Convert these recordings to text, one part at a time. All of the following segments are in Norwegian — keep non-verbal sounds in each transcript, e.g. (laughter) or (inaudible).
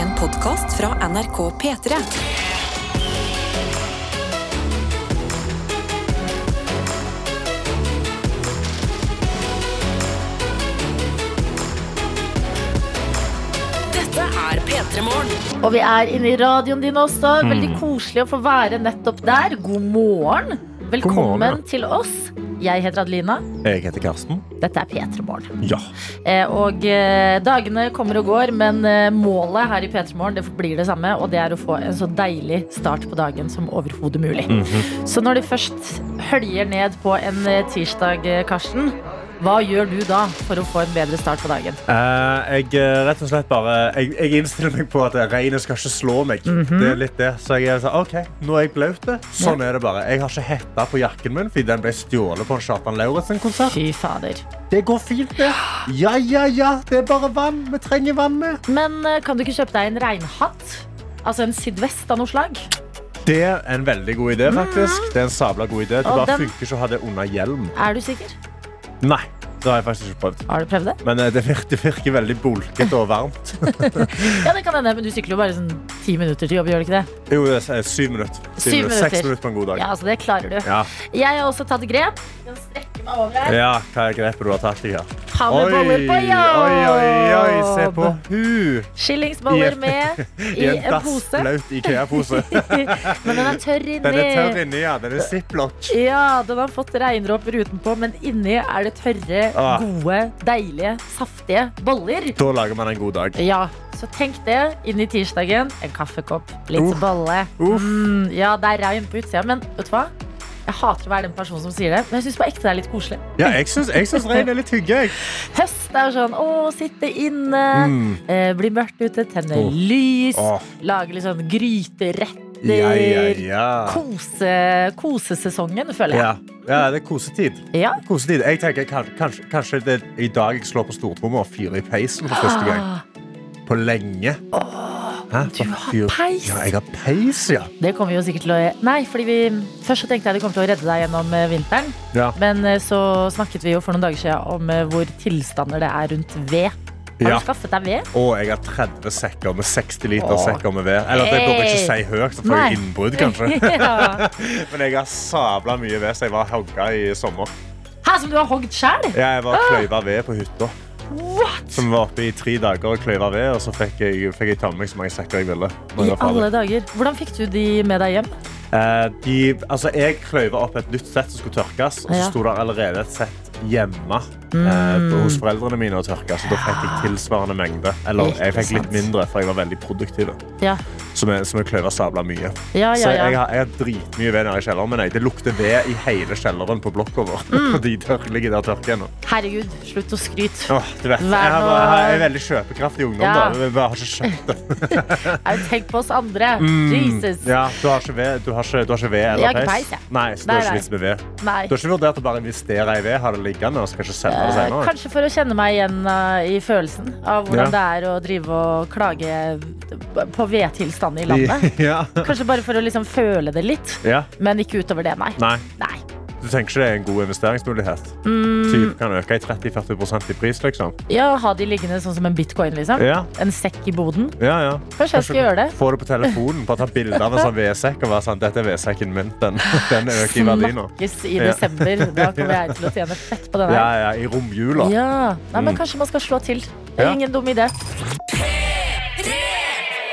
En podkast fra NRK P3. Dette er P3 Morgen. Og vi er inne i radioen din også. Veldig koselig å få være nettopp der. God morgen. Velkommen God morgen, til oss. Jeg heter Adelina. Jeg heter Karsten. Dette er P3 Morgen. Ja. Eh, og eh, dagene kommer og går, men eh, målet her i P3 Morgen det blir det samme. Og det er å få en så deilig start på dagen som overhodet mulig. Så når du først høljer ned på en eh, tirsdag, eh, Karsten, hva gjør du da for å få en bedre start på dagen? jeg eh, rett og slett bare Jeg, jeg innstiller meg på at regnet skal ikke slå meg. Det er litt det. Så jeg er sånn, OK, nå er jeg blaut. Sånn er det bare. Jeg har ikke hetta på jakken min fordi den ble stjålet på en Kjartan Lauritzen-konsert. Fy fader. Det går fint, det. Ja, ja, ja. Det er bare vann. Vi trenger vannet. Men eh, kan du ikke kjøpe deg en regnhatt? Altså en sydvest av noe slag? Det er en veldig god idé, faktisk. Det er en sabla god idé. Det Og bare den- funker ikke å ha det under hjelm. Er du sikker? Nei, det har jeg faktisk ikke prøvd. Har du prøvd det? Men eh, det virker, det virker veldig bulkete og varmt. Ja, det kan hende, men du sykler jo bare sånn ti minutter til jobb, gjør du ikke det? Jo, det er eh, syv minutter. Syv Syv minutter. Seks minutter. minutter på en god dag. Ja, altså det klarer du. Ja. Jeg har også tatt grep. Jeg kan strekke meg over her. Ja, hva er grepet du har tatt i her? Ha med boller på jobb! oi, oi, oi, se på hun Skillingsboller I- med i i en en pose. dassblaut Ikea-pose. (laughs) Men den er tørr inni. Den er tørr inni, ja. Den er ziplock. Ja, den har fått regndråper utenpå, men inni er det tørre, Ah. gode, deilige, saftige boller. Da lager man en god dag. Ja, så tenk det inn i tirsdagen. En kaffekopp, litt Uff. bolle. Uff. Mm, ja, det er regn på utsida, men vet du hva? Jeg hater å være den personen som sier det, men jeg syns på ekte det er litt koselig. Ja, jeg syns, jeg syns regn er litt hygge. jeg. Høst er sånn å, sitte inne, Mm. eh, bli mørkt ute, tenne Åh. lys, Åh, lage litt sånn gryteretter. ja, ja, ja. Kose, kosesesongen, føler Ja. jeg. ja, det er kosetid. Ja. kosetid. Jeg tenker kan- kanskje, kanskje det er i dag jeg slår på stortromma og fyrer i peisen for første gang Ah, på lenge. Hæ? du har Fyr- peis. Ja, jeg har peis, ja. det kommer vi jo sikkert til å Nei, fordi vi først så tenkte jeg det kom til å redde deg gjennom eh, vinteren. Ja. Men eh, så snakket vi jo for noen dager siden om eh, hvor tilstander det er rundt ved. Har Ja. du skaffet deg ved? Og jeg har 30 sekker med 60 liter Åh. sekker med ved. Eller det burde jeg ikke Hey. si høyt, så får Nei. jeg (laughs) innbrudd, kanskje. ja. Men jeg har sabla mye ved, så jeg var hogga i sommer. Hæ, som du har hogd sjæl? Jeg var Ah! kløyva ved på hytta, What? som var oppe i tre dager og kløyva ved, og så fikk jeg, fikk jeg ta med meg så mange sekker jeg ville. når I jeg var ferdig. alle dager. Hvordan fikk du de med deg hjem? Eh, de, altså, jeg kløyva opp et nytt sett som skulle tørkes, og så Ja. Mm. sto det allerede et sett hjemme eh, på- hos foreldrene mine å tørke, så da fikk jeg tilsvarende mengde. Eller Ah. Ikke jeg fikk sant. litt mindre, for jeg var veldig produktiv. Ja, Så vi, så vi kløyva sabla mye. ja, Så ja. jeg ja. har, jeg har dritmye ved nede i kjelleren min. jeg. Det lukter ved i hele kjelleren på blokka (laughs) vår. Mm. De tør, ligger der og tørker ennå. Herregud, slutt å skryte. Åh, du vet, jeg, Vær har nå- bare, jeg er veldig kjøpekraftig ungdom. Ja. Da. Jeg bare har ikke kjøpt det. Jeg Tenk på oss andre. (laughs) Jesus. Mm. Ja, du, har ikke ved, du, har ikke, du har ikke ved Jeg har eller ikke peis? peis, jeg. Nei, så det Nei, er nei. ikke vits med ved. Nei. Du har ikke vurdert å bare investere i ved, ha det liggende og skal ikke selge det Eh, senere? Kanskje for å kjenne meg igjen eh, i følelsen av hvordan Ja. det er å drive og klage på vedtilstanden i landet. (laughs) Ja. Kanskje bare for å liksom føle det litt, ja. men ikke utover det, nei. Nei, Nei. du tenker ikke det er en god investeringsmulighet? Mm. Typ kan øke i 30-40 i pris, liksom? Ja, ha de liggende sånn som en bitcoin, liksom. Ja, En sekk i boden. ja. ja. Kanskje jeg skal gjøre det. Få det på telefonen, bare ta bilde av en sånn vedsekk og være sånn Dette er vedsekken min. Den, (laughs) den øker i verdi nå. Snakkes i Ja. desember. (laughs) Da kommer jeg til å tjene fett på den Ja, her. ja, i romjula. Ja. Nei, men kanskje man skal slå til. Det er Ja. ingen dum idé.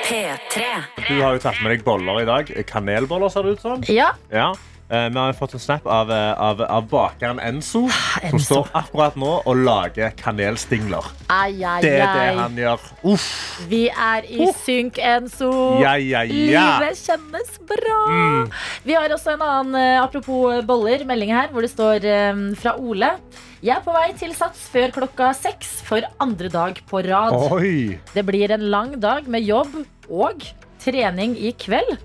P3. Du har jo tatt med deg boller i dag. Kanelboller, ser det ut som. Ja. Ja. Eh, Vi har fått en snap av, eh, av, av bakeren Enzo, Ah, Enzo. som står akkurat nå og lager kanelstingler. Ai, ai, Det er det ai. han gjør. Uff, Vi er i synk, Enzo. ja, ja, ja. Mm. Livet kjennes bra! Vi har også en annen eh, apropos boller, melding her, hvor det står eh, fra Ole. Jeg er på vei til Sats før klokka seks for andre dag på rad. Oi. Det blir en lang dag med jobb og trening i kveld.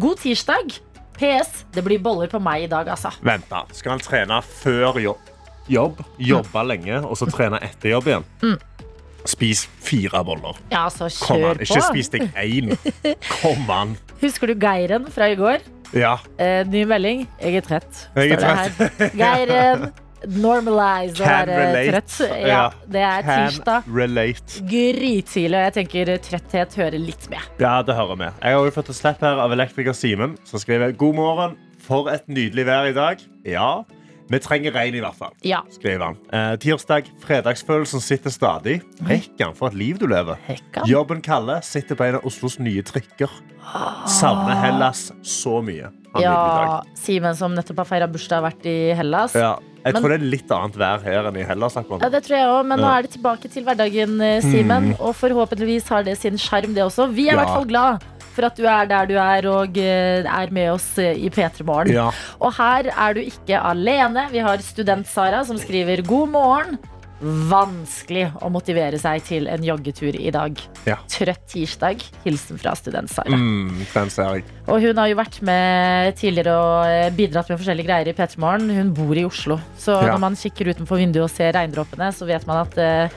God tirsdag. PS. Det blir boller på meg i dag, altså. Vent, da. Skal han trene før jobb? Jobb, Jobbe lenge, og så trene etter jobb igjen? Spis fire boller. Ja, så Kom Mm. kjør an. Ikke på. spis deg én. Kom an. Husker du Geiren fra i går? Ja. Eh, ny melding. Jeg er trett. Jeg er står det her. Geiren. normalize å Can være relate. eh, trøtt. Ja, Ja. Det er tirsdag. Can relate. Grytidlig, og jeg tenker trøtthet hører litt med. Ja, det hører vi. Jeg har også fått et snap her av elektriker Simen, som skriver God morgen. For et nydelig vær i dag. Ja, vi trenger regn i hvert fall. Ja. Skriver han. Eh, tirsdag. Fredagsfølelsen sitter stadig. Hekkan for et liv du lever. Hekkan. Jobben kaller. Sitter på en av Oslos nye trikker. Savner Hellas så mye. Ha en nydelig dag. Ah. Ja, Simen som nettopp har feira bursdag, har vært i Hellas. Ja. Jeg Men- tror det er litt annet vær her enn i Hellas. akkurat Ja, nå. det tror jeg også, men nå Ja. Mm. er det tilbake til hverdagen, eh, Simen. Og forhåpentligvis har det sin sjarm, det også. Vi er i Ja. hvert fall glad for at du er der du er, og eh, er med oss eh, i P3 Morgen. Ja. Og her er du ikke alene. Vi har student-Sara som skriver god morgen. Vanskelig å motivere seg til en joggetur i dag. Ja. Trøtt tirsdag. Hilsen fra student-Sara. Mm, den ser jeg. Og hun har jo vært med tidligere og eh, bidratt med forskjellige greier i P3 Morgen. Hun bor i Oslo. Så Ja. når man kikker utenfor vinduet og ser regndråpene, så vet man at eh,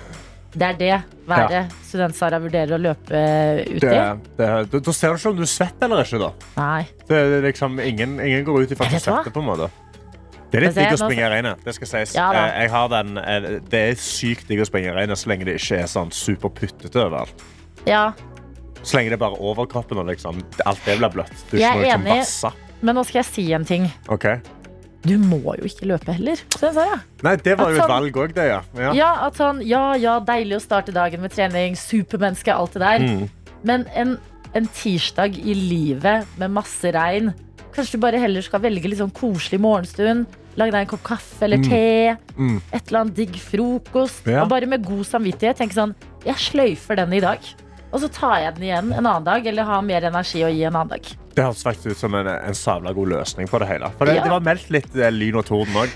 det er det været student-Sara vurderer å løpe eh, ut Det, i. det, da- da ser du ikke om du er svett eller ikke. da Nei. Det er liksom, ingen, ingen går ut ifra at de Vet du hva? setter på en måte. Det er litt Altså, jeg digg å må springe i regnet. Det skal sies. Ja da. Eh, jeg har den, eh, det er sykt digg å springe i regnet så lenge det ikke er sånn superputtete overalt. Ja, Så lenge det er bare over kroppen og liksom, alt det blir bløtt. Du Jeg er ikke må liksom enig. vasse. men nå skal jeg si en ting. Ok. Du må jo ikke løpe heller, student-Sara. Nei, det var At jo et sånn- valg òg, det, ja. ja. Ja, at sånn, ja, ja, deilig å starte dagen med trening, supermenneske, alt det der. Mm. Men en, en tirsdag i livet med masse regn, kanskje du bare heller skal velge litt sånn koselig morgenstund, lage deg en kopp kaffe eller te, Mm. et eller annet digg frokost, Ja. og bare med god samvittighet tenke sånn, jeg sløyfer den i dag. Og så tar jeg den igjen en annen dag, eller har mer energi å gi en annen dag. Det høres faktisk ut som en, en sabla god løsning på det hele. For det, Ja. det var meldt litt eh, lyn og torden òg.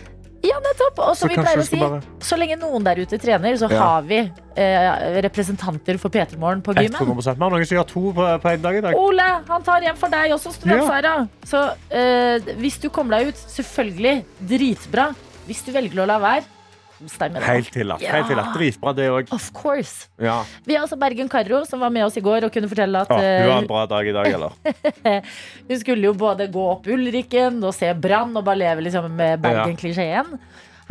Ja, nettopp. Og som Så vi kanskje pleier vi å si, skal bare- så lenge noen der ute trener, så Ja. har vi eh, representanter for P3morgen på gymmen. Vi har noen som gjør to på, på en dag i dag. Ole, han tar hjem for deg også, student Ja. Sara. Så eh, hvis du kommer deg ut, selvfølgelig dritbra. Hvis du velger å la være, kos deg med det. Helt tillatt. Ja. Helt tillatt. Dritbra, det òg. Of course. Ja. Vi har også Bergen Karro, som var med oss i går og kunne fortelle at Å, hun har eh, en bra dag i dag, (laughs) eller? hun skulle jo både gå opp Ulriken og se Brann og bare leve liksom med Bergen-klisjeen.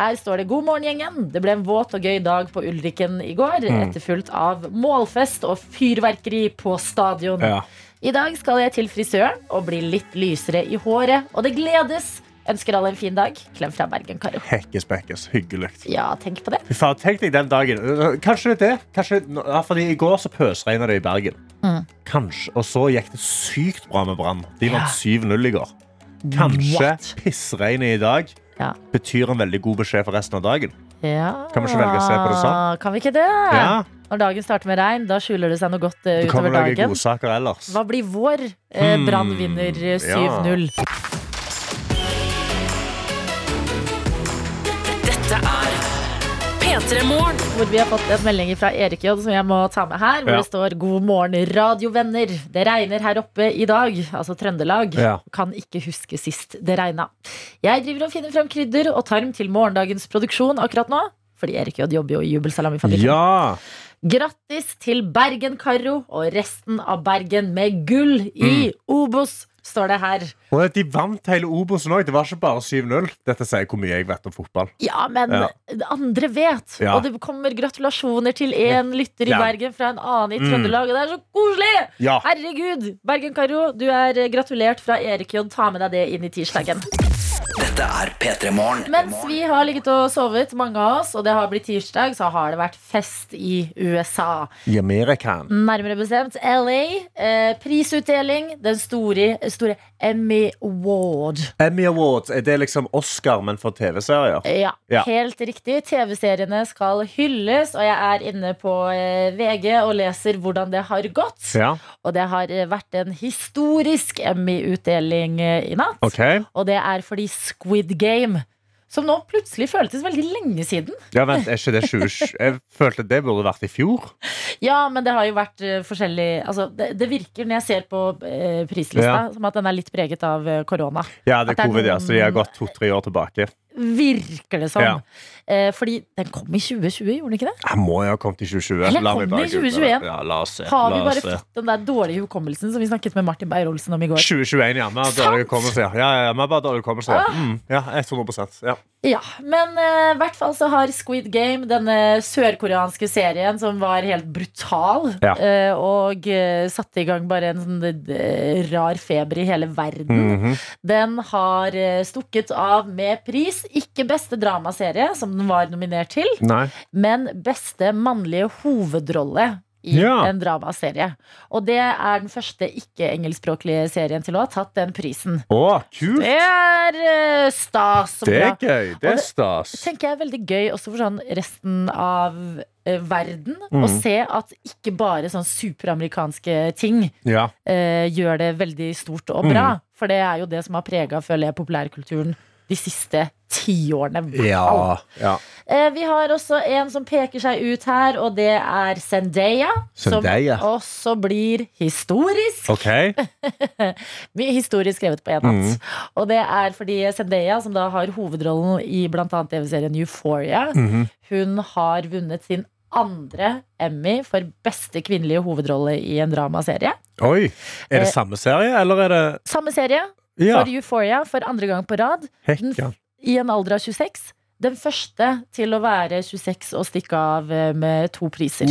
Her står det 'God morgen, gjengen'. Det ble en våt og gøy dag på Ulriken i går. Mm. Etterfulgt av målfest og fyrverkeri på stadion. Ja. I dag skal jeg til frisøren og bli litt lysere i håret, og det gledes! Ønsker alle en fin dag. Klem fra Bergen, Karo. Hekkes bekkes. Hyggelig. Ja, tenk på det. Fy faen, tenk deg den dagen. Øh, Kanskje det er det. Kanskje, ja, fordi I går så pøsregna det i Bergen. Mm. Kanskje, Og så gikk det sykt bra med Brann. De vant 7-0 i går. Kanskje What? pissregnet i dag Ja. betyr en veldig god beskjed for resten av dagen. Ja. Kan vi ikke velge å se på det sånn? Kan vi ikke det? Ja. Når dagen starter med regn, da skjuler det seg noe godt eh, Du kan utover vel lage Hmm, dagen. godsaker ellers. Hva blir vår? Eh, Brann vinner eh, 7-0. Dette er P3 Morgen. Hvor vi har fått en melding fra Erik J, som jeg må ta med her. Hvor Ja. det står 'God morgen, radiovenner'. Det regner her oppe i dag. Altså Trøndelag. Ja. Kan ikke huske sist det regna. Jeg driver og finner frem krydder og tarm til morgendagens produksjon akkurat nå. Fordi Erik J jobber jo i Jubelsalamifabrikken. Ja! Grattis til Bergen Karro og resten av Bergen med gull Mm. i Obos, står det her. Og de vant hele Obosen òg. Det var ikke bare 7-0. Dette sier hvor mye jeg vet om fotball. Ja, men Ja. det andre vet. Ja. Og det kommer gratulasjoner til én lytter i Ja. Bergen fra en annen i Mm. Trøndelag. Og det er så koselig! Ja. Herregud! Bergen Karo, du er eh, gratulert fra Erik J. Ta med deg det inn i tirsdagen. Dette er P3 Morgen. Mens vi har ligget og sovet, mange av oss, og det har blitt tirsdag, så har det vært fest i USA. I Amerikan. Nærmere bestemt LA. Eh, prisutdeling. Den store, store Emmy Award. Emmy Awards. Er det liksom Oscar, men for TV-serier? Ja, Ja. helt riktig. TV-seriene skal hylles, og jeg er inne på eh, VG og leser hvordan det har gått. Ja. Og det har eh, vært en historisk Emmy-utdeling eh, i natt. OK. Og det er fordi Squid Game, som nå plutselig føltes veldig lenge siden Ja, vent, er ikke det 2020? Jeg følte det burde vært i fjor. Ja, men det har jo vært eh, forskjellig altså, det, det virker når jeg ser på eh, prislista, Ja. som at den er litt preget av eh, korona. Ja, det At det er er covid, ja, noen- så de har gått to-tre år tilbake. virker det som. Ja. Eh, fordi den kom i 2020, gjorde den ikke det? Jeg må jo ha kommet i 2020. Eller La meg kom bare i google det. 2021? Ja, la oss se. Har vi la bare oss se. fått den der dårlige hukommelsen som vi snakket med Martin Beyer-Olsen om i går? 2021, ja. Vi har dårlig Sant! Ah! hukommelse. Ja, ja, ja, vi har bare dårlig hukommelse. ja. Mm, ja, 100 ja. Ja, men eh, i hvert fall så har Squid Game, denne sørkoreanske serien som var helt brutal, Ja. eh, og eh, satte i gang bare en sånn eh, rar feber i hele verden, Mm. Mhm. den har eh, stukket av med pris. Ikke beste dramaserie, som den var nominert til, Nei. men beste mannlige hovedrolle. I Ja. en dramaserie. Og det er den første ikke-engelskspråklige serien til å ha tatt den prisen. Å, kult! Det er eh, stas og Det bra er gøy. Det Og er det- stas. tenker jeg er veldig gøy også for sånn resten av eh, verden å Mm. se at ikke bare sånn superamerikanske ting Ja. eh, gjør det veldig stort og bra. Mm. For det er jo det som har prega, føler jeg, populærkulturen de siste tiårene. i hvert fall. ja. Eh, vi har også en som peker seg ut her, og det er Zendaya. Zendaya. Som også blir historisk. OK. Mye historie skrevet på én natt. Og det er fordi Zendaya, som da har hovedrollen i bl.a. TV-serien Euphoria, Mhm. hun har vunnet sin andre Emmy for beste kvinnelige hovedrolle i en dramaserie. Oi. Er Eh, det samme serie, eller er det Samme serie Ja. for Euphoria for andre gang på rad, den Hekka. i en alder av 26. Den første til å være 26 og stikke av eh, med to priser.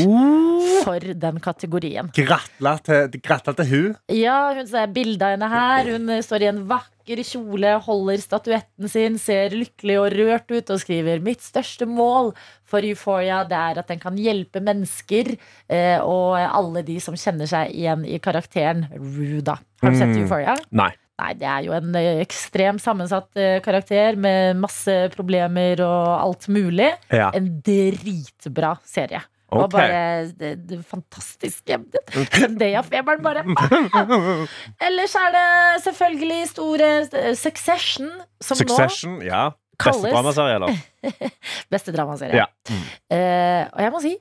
For den kategorien. Gratulerer til, gratulerer til hun. Ja, hun ser bildet av henne her. Hun eh, står i en vakker kjole, holder statuetten sin, ser lykkelig og rørt ut og skriver mitt største mål for Euphoria det er at den kan hjelpe mennesker eh, og alle de som kjenner seg igjen i karakteren Rue, da. Har du sett Mm. Euphoria? Nei. Nei, det er jo en eh, ekstremt sammensatt eh, karakter med masse problemer og alt mulig. Ja. En dritbra serie. Og Ok. bare det, det, fantastisk. Jeg- Zendaya-feberen (laughs) bare ah! Ellers er det selvfølgelig store eh, Succession, som Succession. Ja. kalles- Beste (laughs) dramaserie, eller? nå Beste dramaserie. Ja. Eh, og jeg må si,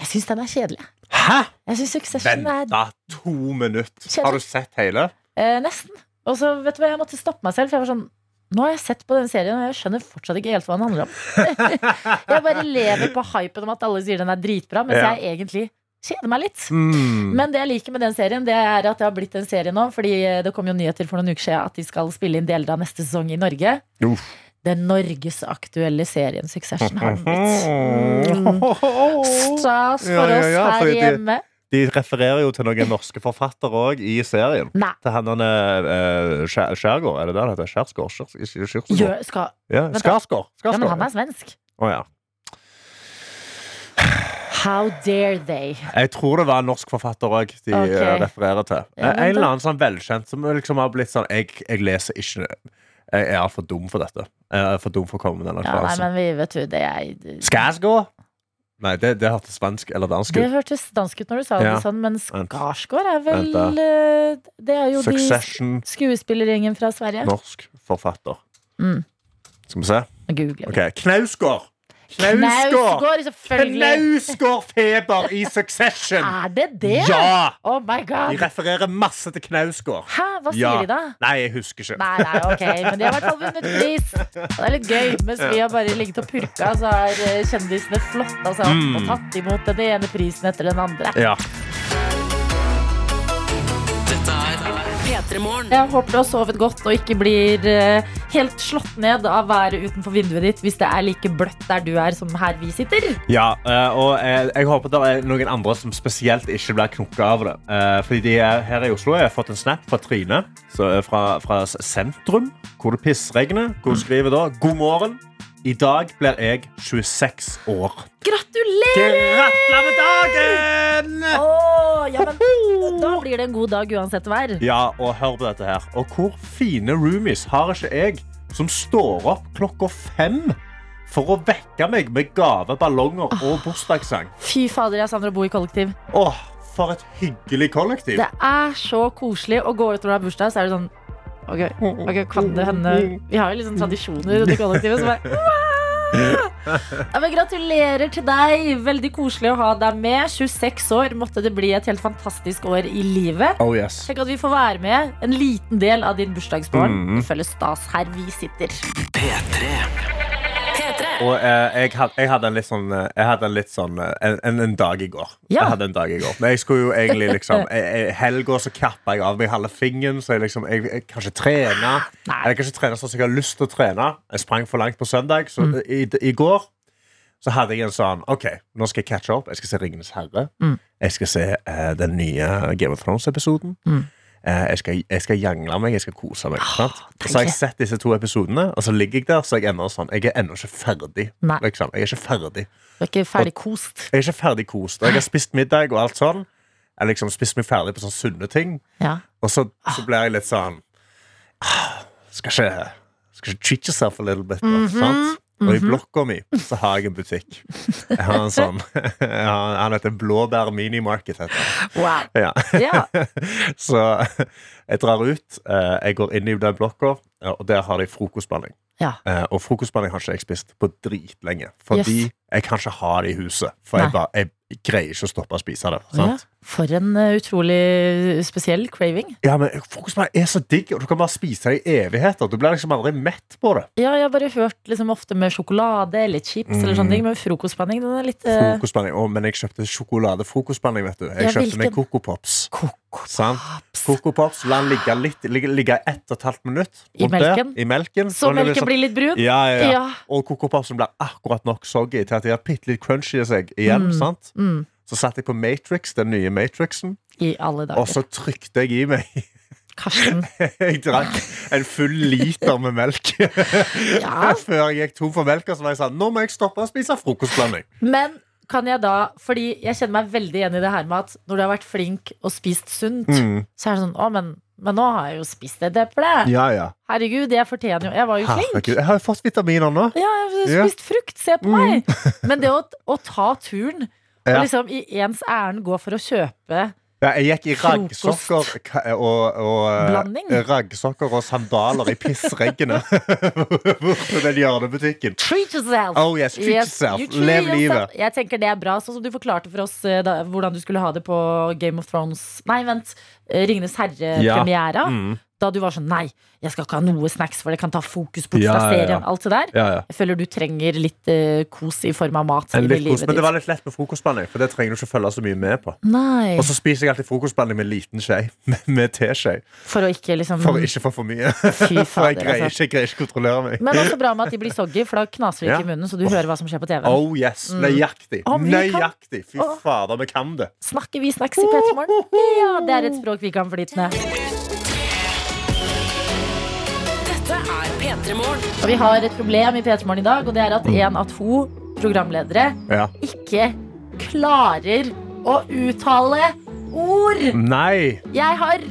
jeg syns den er kjedelig. Hæ? Jeg syns Succession er Venta to minutter. Kjedelig. Har du sett hele? Eh, nesten. Og så vet du hva, jeg måtte stoppe meg selv, for jeg var sånn nå har jeg sett på den serien, og jeg skjønner fortsatt ikke helt hva den handler om. (laughs) jeg bare lever på hypen om at alle sier den er dritbra, mens Ja. jeg egentlig kjeder meg litt. Mm. Men det jeg liker med den serien, det er at det har blitt en serie nå. Fordi eh, det kom jo nyheter for noen uker siden at de skal spille inn deler av neste sesong i Norge. Uff. Den norgesaktuelle serien Succession (laughs) har den blitt. Mm. Mm. Stas for Ja, ja, ja, oss her fordi det- hjemme. De refererer jo til noen norske forfattere òg i serien. Nei. Til han han eh, Skjær- Skjærgård, er det det han heter? Skjærsgård? Skjærs- Skjærs- Skjærsgård? Gjør, skal, Ja, da. Skarsgård. ja, men Skarsgård. han er svensk. Å, ja. How dare they? Jeg tror det var en norsk forfatter òg de Ok. eh, refererer til. Ja, men en eller da- annen sånn velkjent som liksom har blitt sånn Jeg, jeg leser ikke Jeg er for dum for dette. Jeg er for dum for å komme med denne Ja, nei, referansen. men vi vet jo det er Skarsgård? Nei, det, det hørtes svensk eller dansk Det ut. hørtes dansk ut når du sa Ja. det sånn, men Vent. Skarsgård er vel Vent eh, Det er jo Succession, de skuespillergjengen fra Sverige. norsk forfatter. Mm. Skal vi se. Nå googler vi. Ok, Knausgård! Knausgård! Knausgård, selvfølgelig! Ah. Knausgård-feber i Succession! Er det det? Ja! Oh my De god! refererer masse til Knausgård. Hæ, hva sier Ja. de da? Nei, jeg husker ikke. Nei, nei, ok, men de har i hvert fall vunnet pris. Og det er litt gøy. Mens vi har bare ligget og purka, så har eh, kjendisene flotta seg Mm. opp og tatt imot den ene prisen etter den andre. Ja. Dette er P3morgen. Jeg håper du har sovet godt og ikke blir eh, helt slått ned av været utenfor vinduet ditt hvis det er like bløtt der du er som her vi sitter. Ja, eh, og eh, jeg håper det er noen andre som spesielt ikke blir knokka av det. Eh, Fordi de er her i Oslo. Jeg har fått en snap fra Trine så, eh, fra, fra s- sentrum, hvor det pissregner. Hvor hun skriver da God morgen. I dag blir jeg 26 år. Gratulerer! Gratulerer med dagen! Åh, ja, men, da blir det en god dag uansett vær. Ja, og hør på dette her. Og hvor fine roomies har ikke jeg som står opp klokka fem for å vekke meg med gave, ballonger og bursdagssang? Fy fader, jeg savner å bo i kollektiv. Åh, for et hyggelig kollektiv. Det er så koselig å gå ut når du har bursdag, så er det sånn Ok, ok, kan det hende Vi har jo liksom tradisjoner i kollektivet, så bare «Wow!» ja, men Gratulerer til deg. Veldig koselig å ha deg med. 26 år. Måtte det bli et helt fantastisk år i livet. Oh yes. Tenk at vi får være med en liten del av din bursdagsbarn. Mm. Det føles stas her vi sitter. P3. Og eh, jeg, had, jeg hadde en litt sånn, eh, jeg hadde en, litt sånn eh, en, en, en dag i går. Ja. Jeg hadde en dag i går. Men jeg skulle jo egentlig (laughs) liksom jeg- jeg- Helga så kappa jeg av meg halve fingeren, så jeg liksom jeg, jeg kan ikke trene. Ah, Nei. Jeg kan ikke trene sånn som jeg har lyst til å trene. Jeg sprang for langt på søndag, så Mm. i, i går så hadde jeg en sånn OK, nå skal jeg catche opp. Jeg skal se Ringenes herre. Mm. Jeg skal se eh, den nye Game of Thrones-episoden. Mm. Eh, jeg, skal, jeg skal jangle meg, jeg skal kose Ah, meg. sant? Og så har jeg deilig. sett disse to episodene, og så ligger jeg der, så jeg ender sånn. Jeg er ennå ikke ferdig. Nei. Liksom. Jeg er ikke ferdig Du er ikke ferdig kost. Jeg er ikke ferdig kost. Og jeg har spist middag og alt sånn. Jeg har liksom spist meg ferdig på sånne sunne ting. Ja. Og så, så blir jeg litt sånn ah, Skal ikke Skal ikke treat yourself a little bit da, sant? Og i blokka mi så har jeg en butikk Jeg har en sånn (laughs) jeg har, Han heter Blåbær Mini Market heter han. Wow. ja. Ja. Så jeg drar ut eh, Jeg går inn i den blokka eh, Og der har de frokostblanding ja. Eh, Og frokostblanding har ikke jeg spist på dritlenge Fordi Yes. jeg kan ikke ha det i huset For jeg, Nei. bare, jeg greier ikke å stoppe å spise det Å ja. sant? For en eh, utrolig eh, spesiell craving. Ja, men frokostblanding er så digg Og du kan bare spise det i evigheter Du blir liksom aldri mett på det Ja, jeg har bare hørt liksom, ofte med sjokolade eller chips eller Mm. sånne ting, men frokostspenning, den er litt eh, Frokostblanding. Å, men jeg kjøpte sjokoladefrokostblanding, vet du. Jeg Ja, kjøpte meg hvilken? Coco Pops. koko. Sant? Coco Pops, La den ligge, litt, ligge, ligge ett og et halvt minutt I rundt der, melken? I melken. Så Og den er melken sånn- blir litt brun? ja, ja, ja. Ja. Og Coco Popsen blir akkurat nok soggy til at de har bitte litt crunchy i seg igjen. sant? Mm. Så satte jeg på Matrix, den nye Matrixen, I alle og dager. så trykte jeg i meg (laughs) Karsten. Jeg drakk en full liter med melk. (laughs) Ja. Før jeg gikk tom for melk, og så var jeg sånn Nå må jeg stoppe å spise frokostblanding. Men kan jeg da, fordi jeg kjenner meg veldig igjen i det her med at når du har vært flink og spist sunt, Mm. så er det sånn Å, men, men nå har jeg jo spist et eple. Ja, ja. Herregud, jeg fortjener jo Jeg var jo flink. Herregud, jeg har jo fått vitaminer nå. Ja, jeg Ja. Mm. har spist frukt, se på meg. Men det å, å ta turen og (laughs) Ja. liksom i ens ærend gå for å kjøpe Ja, jeg gikk i Frokost. raggsokker ka- og, og eh, Blanding? Raggsokker og sandaler i pissreggene (laughs) bort til den hjørnebutikken. Treat yourself! Oh yes, treat yourself. you Lev livet. Jeg tenker det er bra, sånn som du forklarte for oss eh, da, hvordan du skulle ha det på Game of Thrones Nei, vent. eh, Ringenes herre-premiera. Mm. Da du var sånn Nei, jeg skal ikke ha noe snacks, for det kan ta fokus bort Ja, fra ja, ja. serien. Alt det der. Ja, ja. Jeg føler du trenger litt eh, kos i form av mat En inn i litt kos, livet men det ditt. var litt lett med frokostblanding, for det trenger du ikke følge så mye med på. Nei. Og så spiser jeg alltid frokostblanding med liten skje, (laughs) med, med teskje, For å ikke liksom for å ikke få for mye. (laughs) Fy For jeg fader, greier altså. ikke, jeg greier ikke å kontrollere meg. Men også bra med at de blir soggy, for da knaser det ikke Ja. i munnen. Så du hører hva som skjer på TV. Oh yes, nøyaktig. Mm. Å, men vi kan- Nøyaktig. Fy Å. fader, vi kan det. Snakker vi snacks i Petermorgen? Ja, det er et språk vi kan flytende. Dette er P3 Morgen. Og vi har et problem i Petermorgen i dag, og det er at én av to programledere Ja. ikke klarer å uttale ord. Nei. Jeg har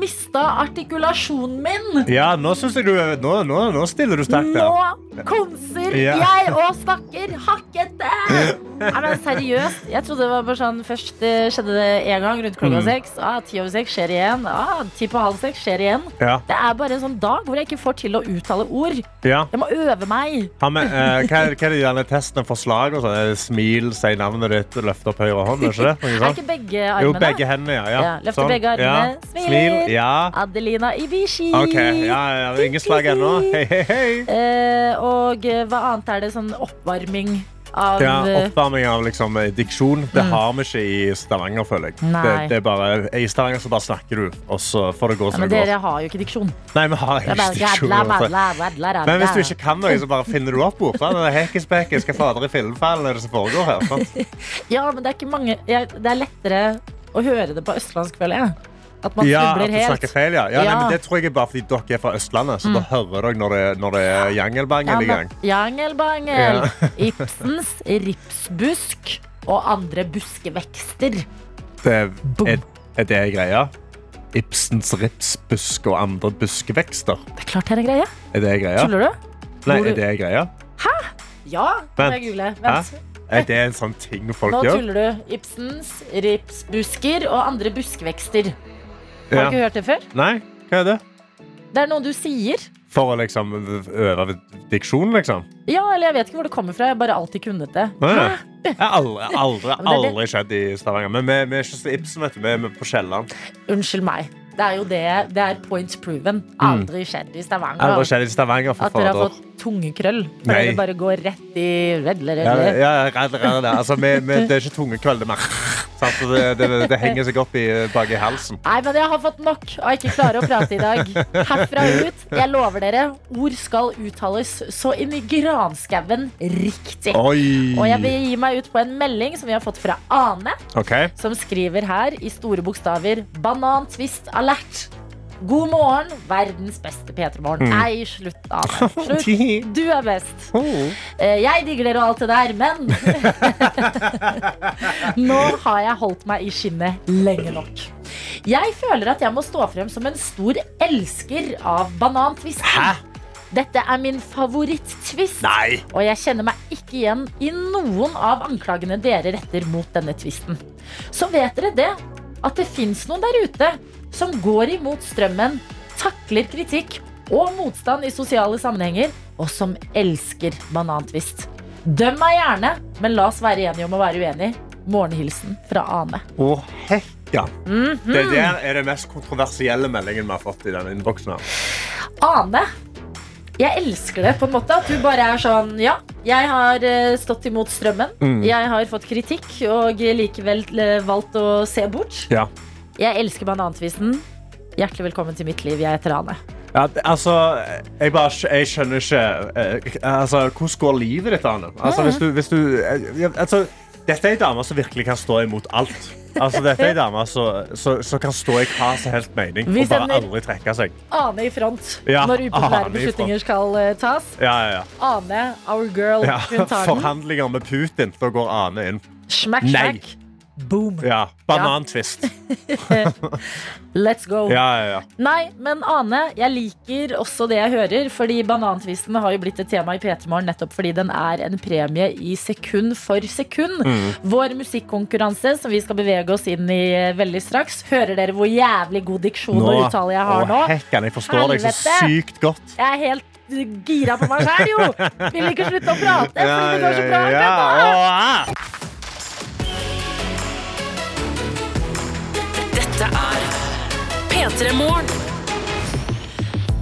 mista artikulasjonen min. Ja, nå syns jeg du Nå, nå, nå stiller du sterkt der. Nå konser Ja. jeg og snakker hakkete! Nei, men seriøst, jeg trodde det var bare sånn Først eh, skjedde det én gang rundt Mm. klokka seks. Ah, ti over seks skjer igjen. Ah, ti på halv seks skjer igjen. Ja. Det er bare en sånn dag hvor jeg ikke får til å uttale ord. Ja. Jeg må øve meg. Ha med, eh, hva, er- hva er det gjerne testen for slag? Og sånn? Er det Smil, si navnet ditt, løft opp høyre hånd. Er ikke det? (laughs) Noe Er sånt? ikke begge Jo, armene? begge hendene, ja. ja. Ja, løfte begge armene. Smil. Ja. Adelina Ibishi. OK. Ja, ja, det er ingen slag ennå. Hei, hei, hei. Eh, og eh, hva annet er det? Sånn oppvarming av Ja, eh, Mm. oppvarming av liksom, eh, diksjon det har vi ikke i Stavanger, føler jeg. Nei. Det, det er bare, I Stavanger så bare snakker du, og så får det gå ja, som men det går. dere har jo ikke diksjon. Nei, vi har Det er bare ikke diksjon. gadla, altså. badla, badla, radla. Men hvis du ikke kan noe, så bare finner du opp ord. sant? Det er Hekkespekke, skal fader i filmfallen, er det som foregår her. Sant? Ja, men det er ikke mange jeg, Det er lettere å høre det på østlandsk, føler jeg. At man Ja, at snubler du helt. snakker feil, ja. ja, Nei, Ja. Mm. men det tror jeg er bare fordi dere er fra Østlandet, så da hører dere når det, når det er jangelbangel i gang. Jangelbangel, (laughs) Ibsens ripsbusk og andre buskevekster. Det er, er, er det greia? Ibsens ripsbusk og andre buskevekster. Det er klart det er en greie. Er det greia? Tuller du? Nei, Hvor du- er det greia? Ja, må Vent. jeg google. Vent. Hæ? Er det en sånn ting folk Nå gjør? tuller du. Ibsens ripsbusker og andre buskvekster. Har du Ja. ikke hørt det før? Nei, hva er det? Det er noe du sier. For å liksom øve diksjon, liksom? Ja, eller jeg vet ikke hvor det kommer fra. Jeg har bare alltid kunnet det. Nei, nei. Jeg har aldri, aldri, men det er det- aldri skjedd i Stavanger. Men vi, vi er ikke så Ibsen, vet du. Vi er vi er på Kielland. Unnskyld meg. Det er jo det. Det er points proven. Aldri skjedd i Jeg Stavanger. var Mm. skjedd i Stavanger for At dere har fader. fått tungekrøll. For Nei. dere bare går rett i redle, Ja, redle. ja, redd, redd, redd. altså, vi, vi, det er ikke tungekveld, det mer. Sant? Så Det, det, det henger seg opp i, bak i halsen. Nei, men jeg har fått nok av ikke klare å prate i dag. Herfra ut. Jeg lover dere, ord skal uttales så inn i granskauen riktig. Oi! Og jeg vil gi meg ut på en melding som vi har fått fra Ane, OK. som skriver her i store bokstaver 'Banantvist alert'. God morgen, verdens beste P3-morgen. Nei, slutt, Ane. Slutt. Du er best. Eh, Jeg digger dere og alt det der, men (laughs) Nå har jeg holdt meg i skinnet lenge nok. Jeg føler at jeg må stå frem som en stor elsker av banantvist. Hæ? Dette er min favoritt-twist, Nei! og jeg kjenner meg ikke igjen i noen av anklagene dere retter mot denne twisten. Så vet dere det, at det fins noen der ute som går imot strømmen, takler kritikk og motstand i sosiale sammenhenger, og som elsker banantvist. Døm meg gjerne, men la oss være enige om å være uenige. Morgenhilsen fra Ane. Å, hekka! Mhm. Det der er det mest kontroversielle meldingen vi har fått i denne innboksen. her. Ane. Jeg elsker det på en måte. At du bare er sånn Ja, jeg har eh, stått imot strømmen. Mm. Jeg har fått kritikk og likevel eh, valgt å se bort. Ja. Jeg elsker banantvisten. Hjertelig velkommen til mitt liv. Jeg heter Ane. Ja, det- altså, jeg, bare, skj- jeg skjønner ikke eh, altså, Hvordan går livet ditt, Anne? Altså, hvis du, hvis du, eh, ja, altså, dette er en dame som virkelig kan stå imot alt. Altså, dette er en dame som som- som kan stå i hva som helst mening Vi og bare sender- aldri trekke seg. Ane i front Ja, når upopulære Ane i beslutninger skal eh, tas. Ja, ja, ja. Ane, our girl. ja. Hun tar den. Forhandlinger med Putin. Da går Ane inn. Smack, Nei. smack. Boom. Ja. Banantvist. Let's go. Ja, ja, ja. Nei, men Ane, jeg liker også det jeg hører. Fordi Banantvisten har jo blitt et tema i P3 Morgen nettopp fordi den er en premie i sekund for sekund. Mm. Vår musikkonkurranse, som vi skal bevege oss inn i eh, veldig straks. Hører dere hvor jævlig god diksjon og uttale jeg har Å, nå? Hekken, jeg forstår deg så Helvete. sykt godt. Jeg er helt eh, gira på meg sjæl, jo! Vil ikke slutte å prate fordi det går så bra. ja, ah. akkurat nå. ja. Å, Dette er P3 Morgen.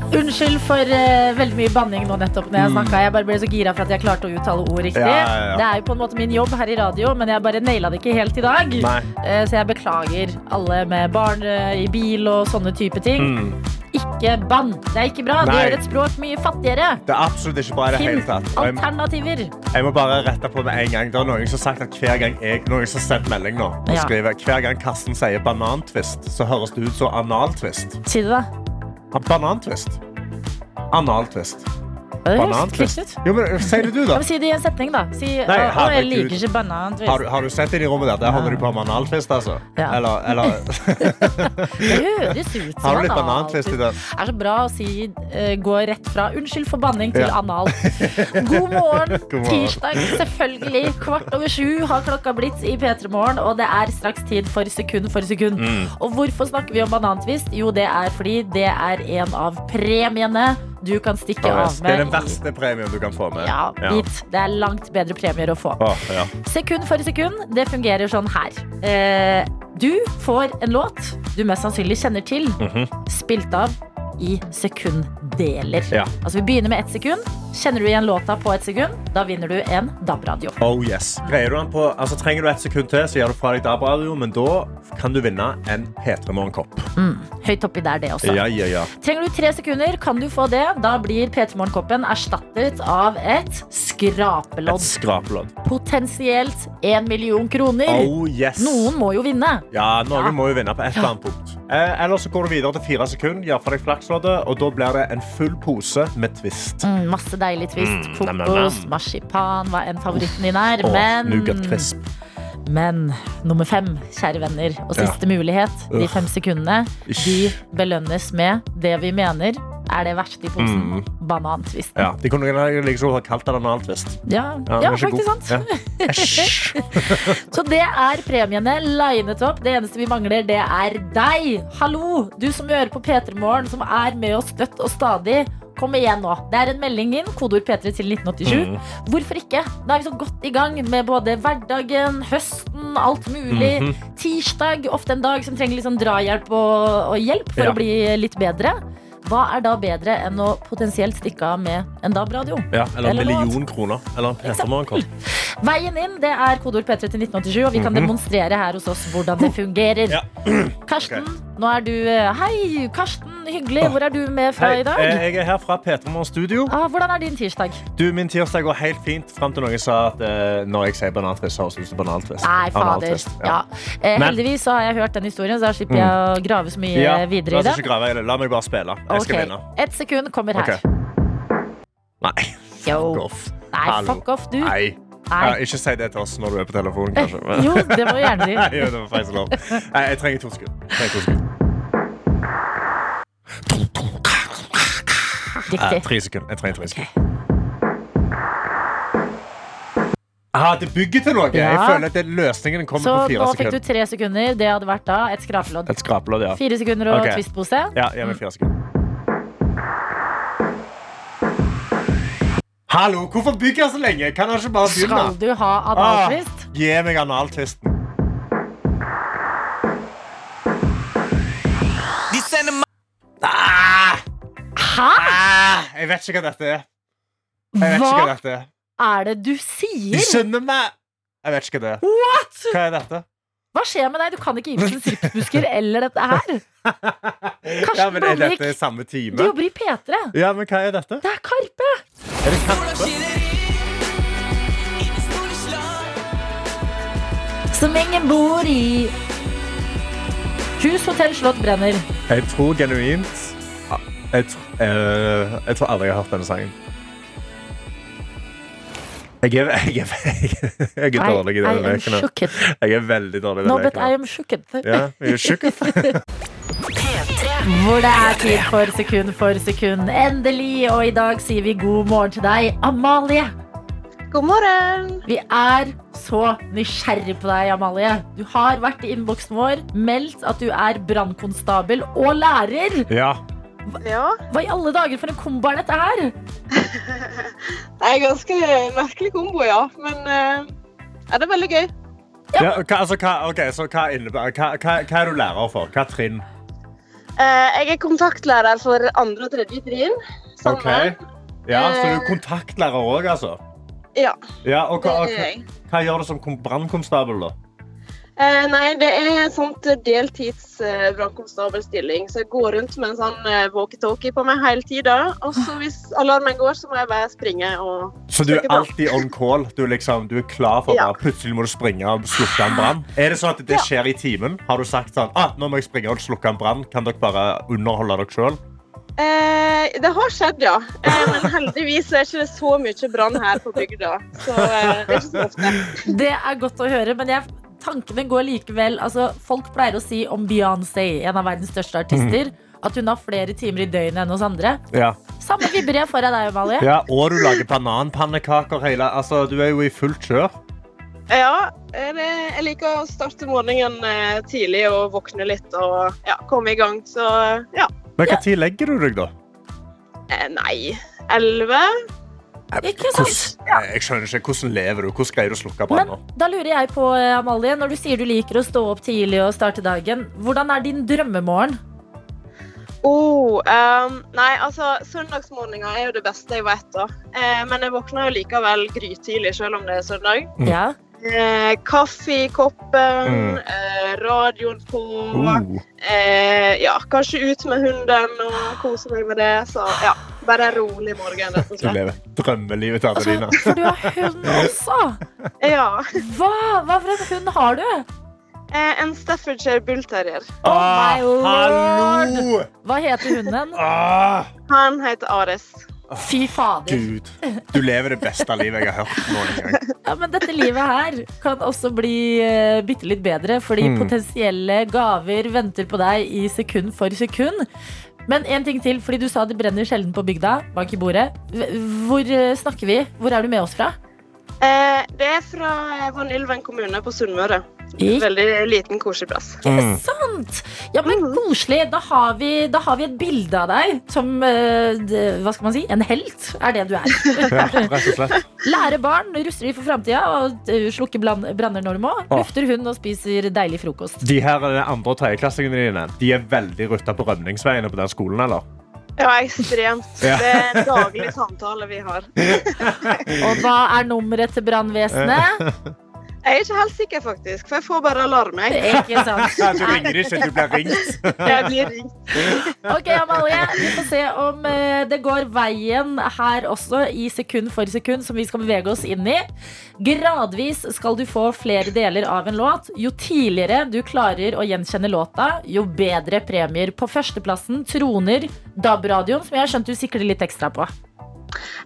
Unnskyld for eh, veldig mye banning nå nettopp når jeg snakka. Jeg bare ble så gira for at jeg klarte å uttale ord riktig. Mm. Ja, ja, ja. Det er jo på en måte min jobb her i radio, men jeg bare naila det ikke helt i dag. Nei. Eh, så jeg beklager alle med barn eh, i bil og sånne type ting. Mm. Ikke bann. Det er ikke bra. Det Nei. gjør et språk mye fattigere. Det er absolutt ikke bra i det Finn hele tatt. Og jeg- alternativer. Jeg må bare rette på med en gang. Det er noen som har sagt at hver gang jeg Noen som har sendt melding nå og Ja. skriver hver gang Karsten sier banantvist, så høres det ut som analtvist. Si det, da. Ja, Banantvist. Analtvist. Det høres Banantvist. klisjé ut. Jo, men si det du, Ja, da. men Si det i en setning, da. Si Nei, å, å, jeg herregud. liker ikke banan. du vet. Har du, har du sett inn i rommet der? Der holder de på med analtvist, altså. Ja. Eller, (laughs) (laughs) eller Det høres ut som Har du litt anal. banantvist i det? Det er så bra å si eh, gå rett fra unnskyld for banning til Ja. (laughs) anal. God morgen, God morgen. tirsdag selvfølgelig. Kvart over sju har klokka blitt i P3 Morgen, og det er straks tid for sekund for sekund. Mm. Og hvorfor snakker vi om banantvist? Jo, det er fordi det er en av premiene du kan stikke av Det er den med. i- verste premien du kan få med. Ja, dit. Det er langt bedre premier å få. Å, ja. Sekund for sekund, det fungerer sånn her. Eh, du får en låt du mest sannsynlig kjenner til, Mhm. spilt av i sekunddeler. Ja. Altså Vi begynner med ett sekund. Kjenner du igjen låta på ett sekund, da vinner du en DAB-radio. Oh yes. Greier du den på, altså Trenger du et sekund til, så gjør du fra deg DAB-radio, men da kan du vinne en P3 Morgenkopp. Høyt oppi der, det også. Ja, ja, ja. Trenger du tre sekunder, kan du få det. Da blir P3 Morgenkoppen erstattet av et Et skrapelodd. skrapelodd. Potensielt én million kroner. Oh yes. Noen må jo vinne. Ja, Norge Ja. må jo vinne på et eller annet punkt. Eh, ellers så går du videre til fire sekunder, gjør fra deg flaksloddet, og da blir det en full pose med twist. Mm, masse deilig twist. nam, nam, Kokos, nam. marsipan, hva enn favoritten din er. Og nougat Mm, Men, crisp. men nummer fem, kjære venner, og siste mulighet, de Uff. fem sekundene, de Ish. belønnes med det vi mener er det verste i posen. Mm. Banantvist. Ja, de kunne liksom ha kalt det en annen twist. Ja, den ja er ikke faktisk god. sant. Ja. Æsj. (laughs) Så det er premiene linet opp. Det eneste vi mangler, det er deg. Hallo, du som hører på P3 Morgen, som er med oss støtt og stadig. Kom igjen nå. Det er en melding inn. Kodeord P3 til 1987. Hvorfor ikke? Da er vi så godt i gang med både hverdagen, høsten, alt mulig. Tirsdag, ofte en dag som trenger litt sånn drahjelp og, og hjelp for Ja. å bli litt bedre. Hva er da bedre enn å potensielt stikke av med en DAB-radio? Ja, eller en Eller noe million kroner. Eller en Petermorgenkopp. Veien inn det er kodeord P3 til 1987, og vi kan demonstrere her hos oss hvordan det fungerer. Mhm. Ja. (clears throat) Karsten, nå er du eh, Hei, Karsten. Hyggelig. Hvor er du med fra Hei, i dag? eh, jeg er her fra Petermorgen studio. Ah, hvordan er din tirsdag? Du, min tirsdag går helt fint frem til noen sa at eh, når jeg sier banantvist, så høres det ut som banantvist. Nei, fader. Banantvist, Ja. Eh, Men- Mm. heldigvis så har jeg hørt den historien, så da slipper jeg å grave så mye Ja, eh, videre i la oss den. ikke grave i det. La meg bare spille. Jeg skal Ok, vinne. Ett sekund kommer her. Ok. Nei, fuck Yo. off. Nei, Hallo. fuck off, du. Nei. Ja, Nei. ikke si det til oss når du er på (laughs) telefonen, kanskje. Jo, det må du gjerne si. (laughs) Nei, det var faktisk lov. Nei, jeg trenger to sekunder. Jeg trenger to sekunder. Nei, Riktig. Eh, tre sekunder. Jeg trenger tre sekunder. Ah, det bygger til noe. Jeg Ja. føler at det- løsningen kommer Så på nå fire fikk du sekunder. tre sekunder. Det hadde vært da et skrapelodd. Et skrapelodd, ja. Fire sekunder og Ok. twistpose. Ja, gi meg fire sekunder. Hallo, hvorfor bygger jeg så lenge? Kan jeg ikke bare Skal begynne? du ha Ah, analtvist? gi meg analtvisten. De sender meg Ah, Hæ? ah, jeg vet ikke hva dette er. Ah, Jeg vet ikke hva Hva dette er. er det du De sier? skjønner meg. Jeg vet ikke hva det er. What? Hva er dette? Hva skjer med deg? Du kan ikke Ibsens ripsbusker eller dette (laughs) her. ja, men Er Bråvik. dette samme Du time? jobber i P3. Ja, men hva er dette? Det er Karpe! Er det Hvordan kaffe? skinner de? I det store slag Som ingen bor i. Hus, hotell, slott brenner. Jeg tror genuint Ah, jeg, tr- eh, jeg tror aldri jeg har hørt denne sangen. Jeg er, jeg er, jeg er, jeg er dårlig i I denne am leken. her. shooked. Jeg er veldig dårlig i No, denne but leken. I her. am shooked. Ja, jeg er (laughs) tjukk. Hvor det er tid for sekund for sekund. Endelig! Og i dag sier vi god morgen til deg, Amalie. God morgen! Vi er så nysgjerrig på deg, Amalie. Du har vært i innboksen vår, meldt at du er brannkonstabel og lærer. Ja. Ja, Hva i alle dager for en kombo er dette her? det er en ganske merkelig kombo, ja. Men eh, er det er veldig gøy. Ja, hva, altså, hva, ok, så hva, innebærer, hva, hva, hva er du lærer for? Hva trinn? Eh, jeg er kontaktlærer for andre og tredje trinn. Ok. Sammen. Ja, så du er kontaktlærer òg, altså? Ja, Ja, og Eh. det hva, er hva, jeg. hva gjør du som kom- brannkonstabel, da? Eh, nei, det er en sånn deltids eh, brannkonstabelstilling, så jeg går rundt med en sånn eh, walkietalkie på meg hele tida. Og så hvis alarmen går, så må jeg bare springe og Så du er Ikke bra. alltid on call? Du er, liksom, du er klar for Ja. bare plutselig må du springe og slukke en brann? Er det sånn at det skjer i timen? Har du sagt sånn ah, nå må jeg springe og slukke en brann? Kan dere bare underholde dere sjøl? Eh, det har skjedd, ja. Eh, men heldigvis er det ikke så mye brann her på bygda. Så eh, det er ikke så ofte. Det er godt å høre, men jeg, tankene går likevel altså, Folk pleier å si om Beyoncé, en av verdens største artister, at hun har flere timer i døgnet enn oss andre. Ja. Samme vibber jeg får av deg, Amalie. ja. Og du lager bananpannekaker hele Altså, du er jo i fullt kjør. Ja, eh, det, jeg liker å starte morgenen eh, tidlig og våkne litt og ja, komme i gang. Så eh, ja. Men når legger du deg, da? Eh, nei. Elleve? Ikke sant? Hvordan, jeg skjønner ikke. Hvordan lever du? Hvordan greier du å slukke Men branner? da lurer jeg på, eh, Amalie, når du sier du liker å stå opp tidlig og starte dagen, hvordan er din drømmemorgen? Oh, ehm, nei, altså søndagsmorgener er jo det beste jeg vet da. Eh, men jeg våkner jo likevel grytidlig selv om det er søndag. Mm. Ja. Eh, kaffe i koppen, Mm. eh, radioen på. Uh. Eh, ja, kanskje ut med hunden og kose meg med det. Så ja, bare en rolig morgen, rett og Du slett. lever drømmelivet til Altså, Adelina. for du har hund også! Ja. Hva, hva for en hund har du? Eh, en Staffordshire Bull Terrier. (laughs) Oh my lord! Ah, hallo! Hva heter hunden? Ah, Han heter Ares. Fy fader. Gud. Du lever det beste livet jeg har hørt noen gang. Ja, men dette livet her kan også bli uh, bitte litt bedre, fordi Mm. potensielle gaver venter på deg i sekund for sekund. Men en ting til, fordi du sa det brenner sjelden på bygda. Bank i bordet. V- Hvor eh, snakker vi? Hvor er du med oss fra? Eh, det er fra Vanylven eh, kommune på Sunnmøre. Ikke Veldig liten, koselig plass. sant? Ja, men koselig. Da har vi, da har vi et bilde av deg som eh, d- Hva skal man si? En helt er det du er. Ja, rett og slett. Lære barn, ruster de for framtida og eh, slukker blan- branner når de må. Lufter hund og spiser deilig frokost. De her eh, andre- og tredjeklassingene dine De er veldig rutta på rømningsveiene på den skolen, eller? Ja, ekstremt. Ja. Det er en daglig samtale vi har. Og hva er nummeret til brannvesenet? Jeg er ikke helt sikker, faktisk, for jeg får bare alarm. Jeg, Ikke sant? Ja, Du ringer ikke, du blir ringt. jeg blir ringt. Ok, Amalie, vi får se om eh, det går veien her også, i sekund for sekund, som vi skal bevege oss inn i. Gradvis skal du få flere deler av en låt. Jo tidligere du klarer å gjenkjenne låta, jo bedre premier. På førsteplassen troner DAB-radioen, som jeg har skjønt du sikler litt ekstra på.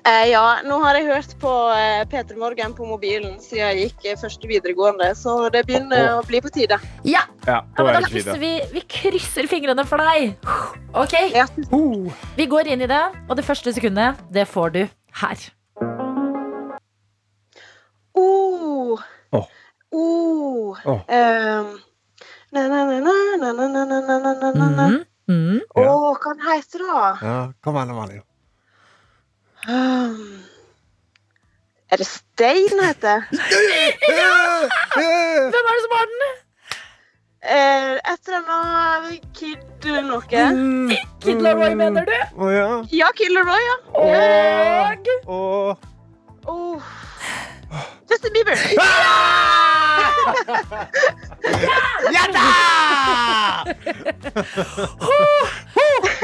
Eh, ja, nå har jeg hørt på eh, Peter Morgen på mobilen siden jeg gikk eh, første videregående, så det begynner å bli på tide. Ja, Ja, ja da men da er det ikke krysser videre. vi, vi krysser fingrene for deg. Ok, Ja. vi går inn i det, og det første sekundet, det får du her. Oh. Åh. Oh. Åh. Ehm, na, na, na, na, na, na, na, na, na, na, na, na. Mhm, mhm. Ja. Åh, hva den heter da? Ja, kom an, Amalie. Ehm, er det Stein den heter? Hvem er det som har den? Eh, et eller annet Kid noe? Kid Laroi, mener du? Å ja. Ja, Kid Leroy, ja. Og Å. Åh. Justin (laughs) Bieber. Ja da!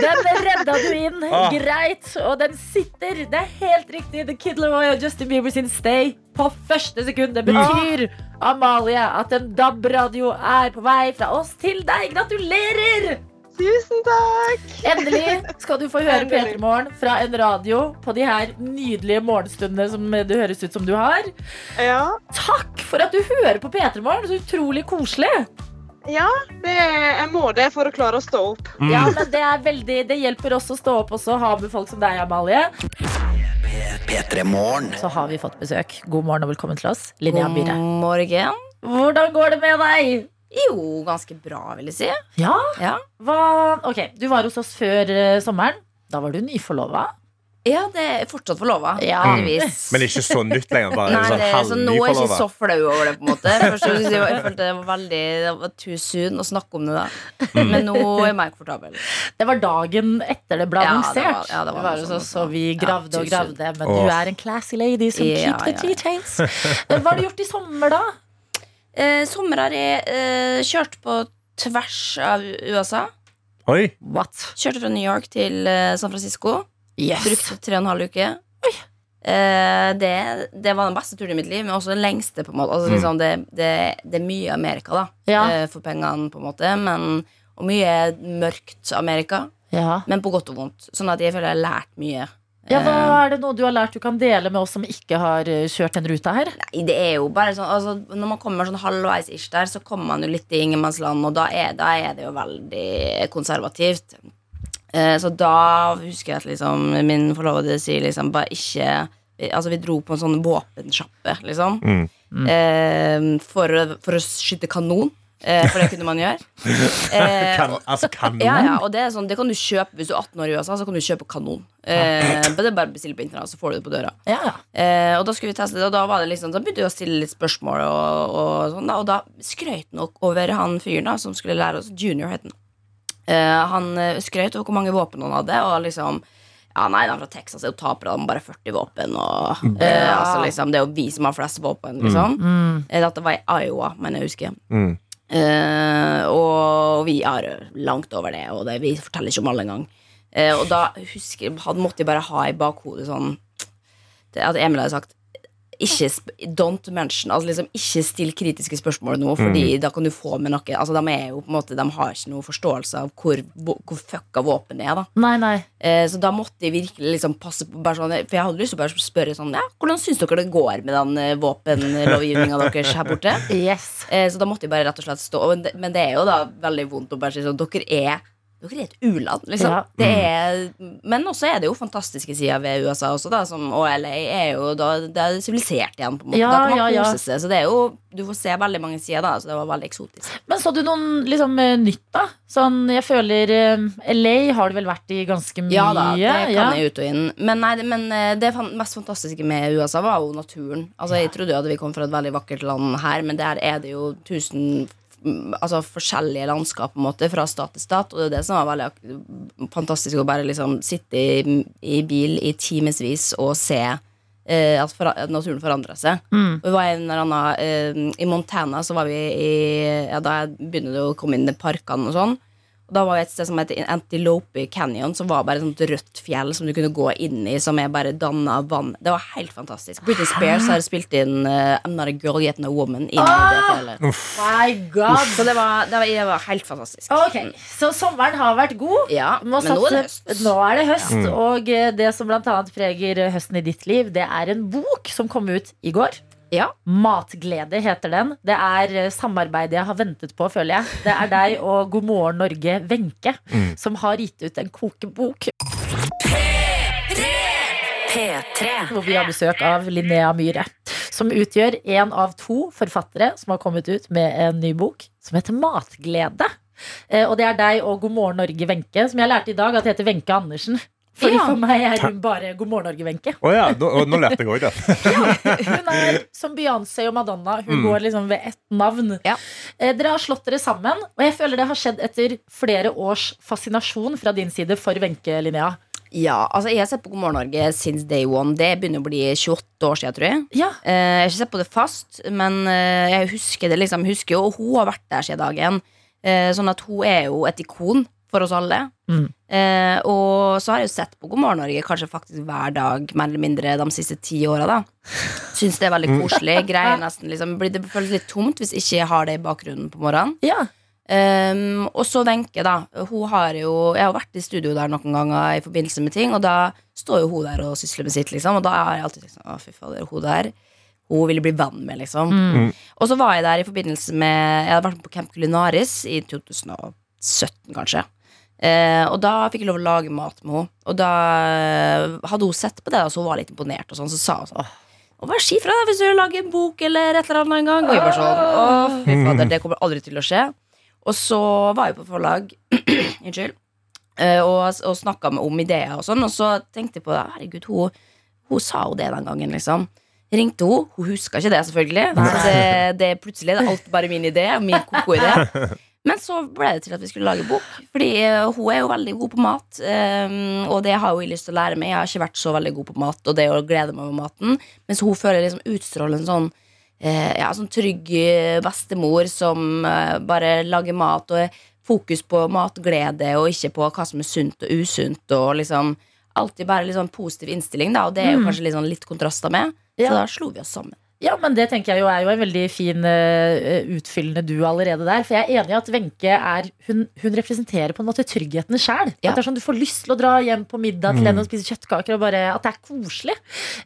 den redda du inn. Greit. Og den sitter. Det er helt riktig. The Kid Leroy og Justin Bieber sin Stay på første sekund. Det betyr Amalie, at en DAB-radio er på vei fra oss til deg. Gratulerer! Tusen takk. Endelig skal du få høre Endelig. P3 Morgen fra en radio på de her nydelige morgenstundene som det høres ut som du har. Ja. Takk for at du hører på P3 Morgen. Så utrolig koselig. ja det, jeg må det for å klare å stå opp. Ja, men det, er veldig, det hjelper oss å stå opp også og ha med folk som deg, Amalie. Så har vi fått besøk. God morgen og velkommen til oss, Linnea God Myhre. morgen. Hvordan går det med deg? Jo, ganske bra, vil jeg si. Ja? Ja. Hva? Ok, du var hos oss før eh, sommeren. Da var du nyforlova. Ja, det er fortsatt forlova. Ja. heldigvis. Mm. Men ikke så nytt lenger. Bare Nei, sånn det, så nå er jeg halvnyforlova. ikke så flau over det, på en måte. Først så synes jeg, jeg følte det var veldig det var too soon å snakke om det da. Mm. Men nå er jeg mer komfortabel. Det var dagen etter det ble Ja, annonsert. det var- ja, det var Vi var noe hos sånt. oss, og vi gravde og Ja, tusen. gravde. Men Åh. du er en classy lady som Ja, keep the ja, ja. details. Hva har du gjort i sommer, da? Eh, sommer har jeg eh, kjørt på tvers av USA. Oi. What? Kjørte fra New York til eh, San Francisco. Yes. Brukte tre og en halv uke. Eh, det, det var den beste turen i mitt liv, men også den lengste. på en måte altså, liksom, det, det, det er mye Amerika da Ja. eh, for pengene, på en måte. Men, og mye mørkt Amerika, Ja. men på godt og vondt. Sånn at jeg føler jeg har lært mye. Ja, hva Eh. er det noe du har lært du kan dele med oss som ikke har eh, kjørt den ruta her? Nei, det er jo bare sånn altså, Når man kommer sånn halvveis-ish der, så kommer man jo litt i ingenmannsland, og da er, da er det jo veldig konservativt. Eh, så da husker jeg at liksom, min forlovede sier liksom bare ikke Altså, vi dro på en sånn våpensjappe, liksom. Mm. Eh, for, å- for å skyte kanon. Eh, for det kunne man gjøre. Eh, Kan, og- altså, kan ja, ja, og det er sånn, det kan du kjøpe hvis du er 18 år i USA. Så kan du kjøpe kanon. Eh, men det er bare å bestille på internett, så får du det på døra. Ja, ja. Eh, og da skulle vi teste det, og da, var det liksom, da begynte vi å stille litt spørsmål, og, og, sånn, da, og da skrøt han nok over han fyren da, som skulle lære oss Junior, het han. Eh, han eh, skrøt over hvor mange våpen han hadde, og liksom ja, nei, han er fra Texas er jo tapere, han har bare 40 våpen. Og, eh, altså, liksom, det er jo vi som har flest våpen, liksom. Eh, Dette var i Iowa, men jeg husker. Mm. Eh, og vi har langt over det, og det, vi forteller ikke om alle engang. Eh, og da husker, hadde, måtte jeg bare ha i bakhodet sånn det, At Emil hadde sagt ikke, sp- Don't mention altså liksom, Ikke still kritiske spørsmål nå, Fordi da kan du få med noe altså, de, er jo, på en måte, de har ikke noen forståelse av hvor, hvor, hvor fucka våpenet er. Da. Nei, nei. Eh, så da måtte jeg virkelig liksom passe på bare sånn, For jeg hadde lyst til å bare spørre sånn ja, Hvordan syns dere det går med den eh, våpenlovgivninga deres her borte? Yes. Eh, Så da måtte jeg bare rett og slett stå og det- Men det er jo da veldig vondt å bare si sånn Dere er Dere er et u-land, liksom. Ja. Det er, men også er det jo fantastiske sider ved USA også, da, som, og LA er jo da det er sivilisert igjen, på en måte. Ja, da kan man ja, ja. kose seg. Så det er jo Du får se veldig mange sider, da. Så det var veldig eksotisk. Men så du noen liksom, eh, nytt, da? Sånn, jeg føler eh, LA har du vel vært i ganske mye? Ja da, det kan ja. jeg ut og inn. Men, nei, det- men eh, det fan- mest fantastiske med USA var jo naturen. Altså, Jeg trodde jo at vi kom fra et veldig vakkert land her, men der er det jo tusen mm, Altså forskjellige landskap på en måte fra stat til stat, og det er det som var veldig ak- fantastisk å bare liksom sitte i, i bil i timevis og se eh, at, forra- at naturen forandra seg. Mm. Vi var i en eller annen, eh, I Montana så var vi i ja, Da begynner det å komme inn i parkene og sånn. Og da var vi et sted som het Antilope Canyon, som var bare et sånt rødt fjell som du kunne gå inn i, som er bare danna av vann. Det var helt fantastisk. Britney Spears har spilt inn eh, I'm Not a Girl Yet No Woman inn i det fjellet. My god! Så det var, det, var, det var helt fantastisk. Ok, Så sommeren har vært god. Ja, Må men nå er det satse- høst. Nå er det høst, Og eh, det som blant annet preger eh, høsten i ditt liv, det er en bok som kom ut i går. Ja. Matglede heter den. Det er eh, samarbeidet jeg har ventet på, føler jeg. Det er deg og God morgen Norge, Wenche, som har gitt ut en kokebok P3. hvor vi har besøk av Linnea Myhre. Som utgjør én av to forfattere som har kommet ut med en ny bok som heter Matglede. Eh, Og det er deg og God morgen Norge, Wenche, som jeg lærte i dag at heter Wenche Andersen. Fordi Ja. For meg er hun bare God morgen Norge, Wenche. Å ja, nå, å, nå lærte jeg òg det. Hun er som Beyoncé og Madonna. Hun går liksom ved ett navn. Ja. Eh, Dere har slått dere sammen, og jeg føler det har skjedd etter flere års fascinasjon fra din side for Wenche, Linnea. Ja, altså Jeg har sett på God morgen Norge since day one. Det begynner å bli 28 år siden, tror jeg. Ja, Eh, Jeg har ikke sett på det fast, men eh, jeg husker det liksom, husker jo, og hun har vært der siden dagen. Eh, Sånn at hun er jo et ikon for oss alle. Mm. Eh, Og så har jeg jo sett på God morgen Norge kanskje faktisk hver dag, mer eller mindre de siste ti åra, da. Syns det er veldig koselig. Greier nesten liksom, blir- Det føles litt tomt hvis ikke jeg har det i bakgrunnen på morgenen. ja. Um, og så Wenche, da. Hun har jo, jeg har vært i studio der noen ganger i forbindelse med ting, og da står jo hun der og sysler med sitt, liksom. Og da har jeg alltid tenkt sånn, å fy fader, hun der. Hun ville bli venn med, liksom. Og så var jeg der i forbindelse med Jeg hadde vært med på Camp Culinaris i 2017, kanskje. Eh, og da fikk jeg lov å lage mat med henne. Og da eh, hadde hun sett på det, da, så hun var litt imponert, og sånn, så sa hun sånn og bare si fra da hvis du lager en bok eller et eller annet en gang. Og jeg bare sånn, å fy fader, det kommer aldri til å skje. Og så var jeg på forlag (clears throat) Unnskyld eh, Og, og snakket med om ideer og sånn Og så tenkte jeg på det Herregud, hun, hun sa jo det den gangen liksom Ringte hun, hun husker ikke det selvfølgelig Så det, det er plutselig det er alt bare min idé og Min koko-idé Men så ble det til at vi skulle lage bok Fordi eh, hun er jo veldig god på mat eh, Og det har hun lyst til å lære meg Jeg har ikke vært så veldig god på mat Og det å glede meg med maten Mens hun føler liksom utstråler en sånn eh, ja, sånn trygg eh, bestemor som eh, bare lager mat og er fokus på matglede og ikke på hva som er sunt og usunt. Og liksom alltid bare litt sånn positiv innstilling, da, og det er jo kanskje litt, sånn litt kontraster med. Ja. Så da slo vi oss sammen. Ja, men det tenker jeg jo er jo en veldig fin eh, utfyllende du allerede der. For jeg er enig i at Wenche er hun, hun representerer på en måte tryggheten sjæl. Ja. Mm. At det er sånn du får lyst til å dra hjem på middag til henne og spise kjøttkaker. Og bare At det er koselig.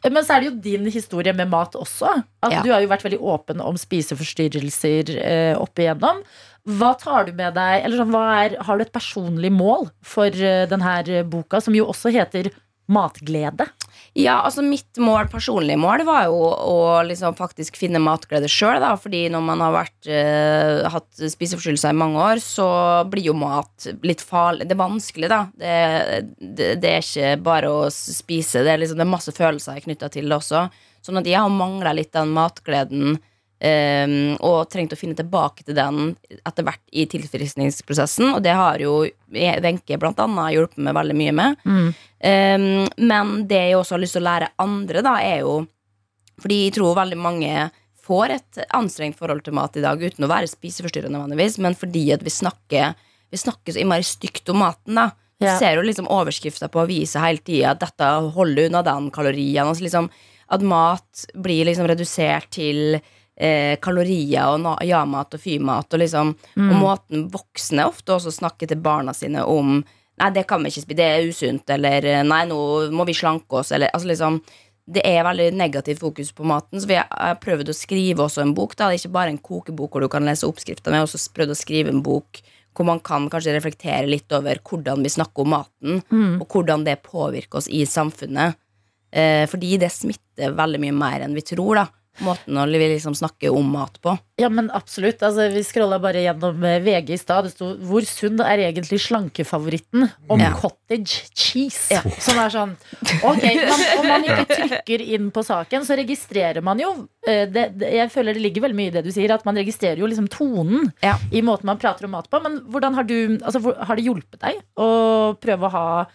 Eh, Men så er det jo din historie med mat også. At Ja. Du har jo vært veldig åpen om spiseforstyrrelser eh, opp igjennom. Hva tar du med deg, eller sånn, hva er, har du et personlig mål for eh, den her boka, som jo også heter Matglede? Ja, altså mitt mål, personlige mål var jo å liksom faktisk finne matglede sjøl, da. Fordi når man har vært, eh, hatt spiseforstyrrelser i mange år, så blir jo mat litt farlig. Det er vanskelig, da. Det, det, det er ikke bare å s- spise, det er, liksom, det er masse følelser knytta til det også. Sånn at jeg har mangla litt den matgleden. eh, og trengt å finne tilbake til den etter hvert i tilfriskningsprosessen. Og det har jo eh, Wenche blant annet hjulpet meg veldig mye med. Um, men det jeg også har lyst til å lære andre, da, er jo Fordi jeg tror veldig mange får et anstrengt forhold til mat i dag uten å være spiseforstyrrende, vanligvis, men fordi at vi snakker Vi snakker så innmari stygt om maten, da. Du Ja. ser jo liksom overskrifter på aviser hele tida at dette holder unna den kalorien. Altså liksom, at mat blir liksom redusert til eh, kalorier og na- ja-mat og fy-mat. Og, liksom, og måten voksne ofte også snakker til barna sine om Nei, det kan vi ikke spise, det er usunt, eller eh, Nei, nå må vi slanke oss, eller altså liksom det er veldig negativt fokus på maten, så vi har- jeg har prøvd å skrive også en bok. da, Det er Ikke bare en kokebok hvor du kan lese oppskrifter, men jeg har også prøvd å skrive en bok hvor man kan kanskje reflektere litt over hvordan vi snakker om maten, og hvordan det påvirker oss i samfunnet. Eh, fordi det smitter veldig mye mer enn vi tror, da. Måten å li- liksom snakke om mat på. Ja, men absolutt. Altså, vi scrolla bare gjennom eh, VG i stad. Det sto 'Hvor sunn er egentlig slankefavoritten?' om Ja. cottage cheese. Som er sånn Ok, man, om man ikke trykker inn på saken, så registrerer man jo eh, det, det, Jeg føler det ligger veldig mye i det du sier, at man registrerer jo liksom tonen Ja. i måten man prater om mat på. Men hvordan har du altså, hvor- Har det hjulpet deg å prøve å ha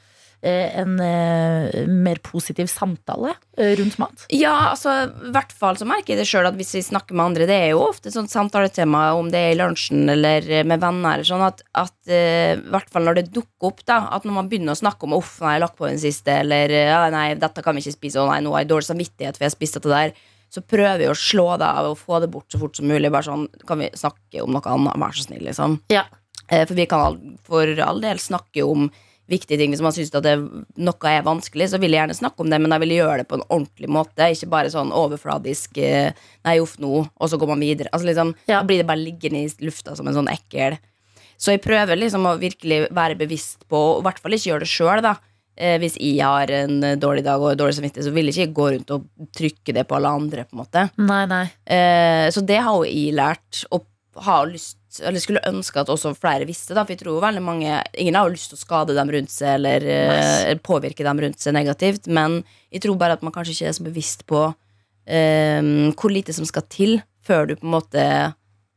eh, en eh, mer positiv samtale eh, rundt mat? Ja, altså, i hvert fall så merker jeg det sjøl at hvis vi snakker med andre Det er jo ofte et sånt samtaletema, om det er i lunsjen eller med venner, eller sånn at, at eh, i hvert fall når det dukker opp, da, at når man begynner å snakke om 'uff, nei, jeg har lagt på den siste', eller ja, 'nei, dette kan vi ikke spise', 'å nei, nå har jeg dårlig samvittighet for jeg har spist dette der', så prøver jeg å slå det av og få det bort så fort som mulig. Bare sånn 'Kan vi snakke om noe annet, vær så snill', liksom. Ja. Eh, For vi kan all, for all del snakke om viktige ting. Hvis man syns at det, noe er vanskelig, så vil jeg gjerne snakke om det, men jeg vil gjøre det på en ordentlig måte. Ikke bare sånn overfladisk eh, 'nei, uff, nå', og så går man videre. Altså liksom, Ja. Da blir det bare liggende i lufta som en sånn ekkel Så jeg prøver liksom å virkelig være bevisst på, og i hvert fall ikke gjøre det sjøl, da. Eh, hvis jeg har en eh, dårlig dag og dårlig samvittighet, så vil jeg ikke gå rundt og trykke det på alle andre. på en måte Nei, nei. Eh, Så det har jo jeg lært Og har lyst, eller skulle ønske at også flere visste da, For jeg tror jo veldig mange Ingen har jo lyst til å skade dem rundt seg Eller eh, påvirke dem rundt seg negativt Men jeg tror bare at man kanskje ikke er så bevisst på eh, Hvor lite som skal til Før du på en måte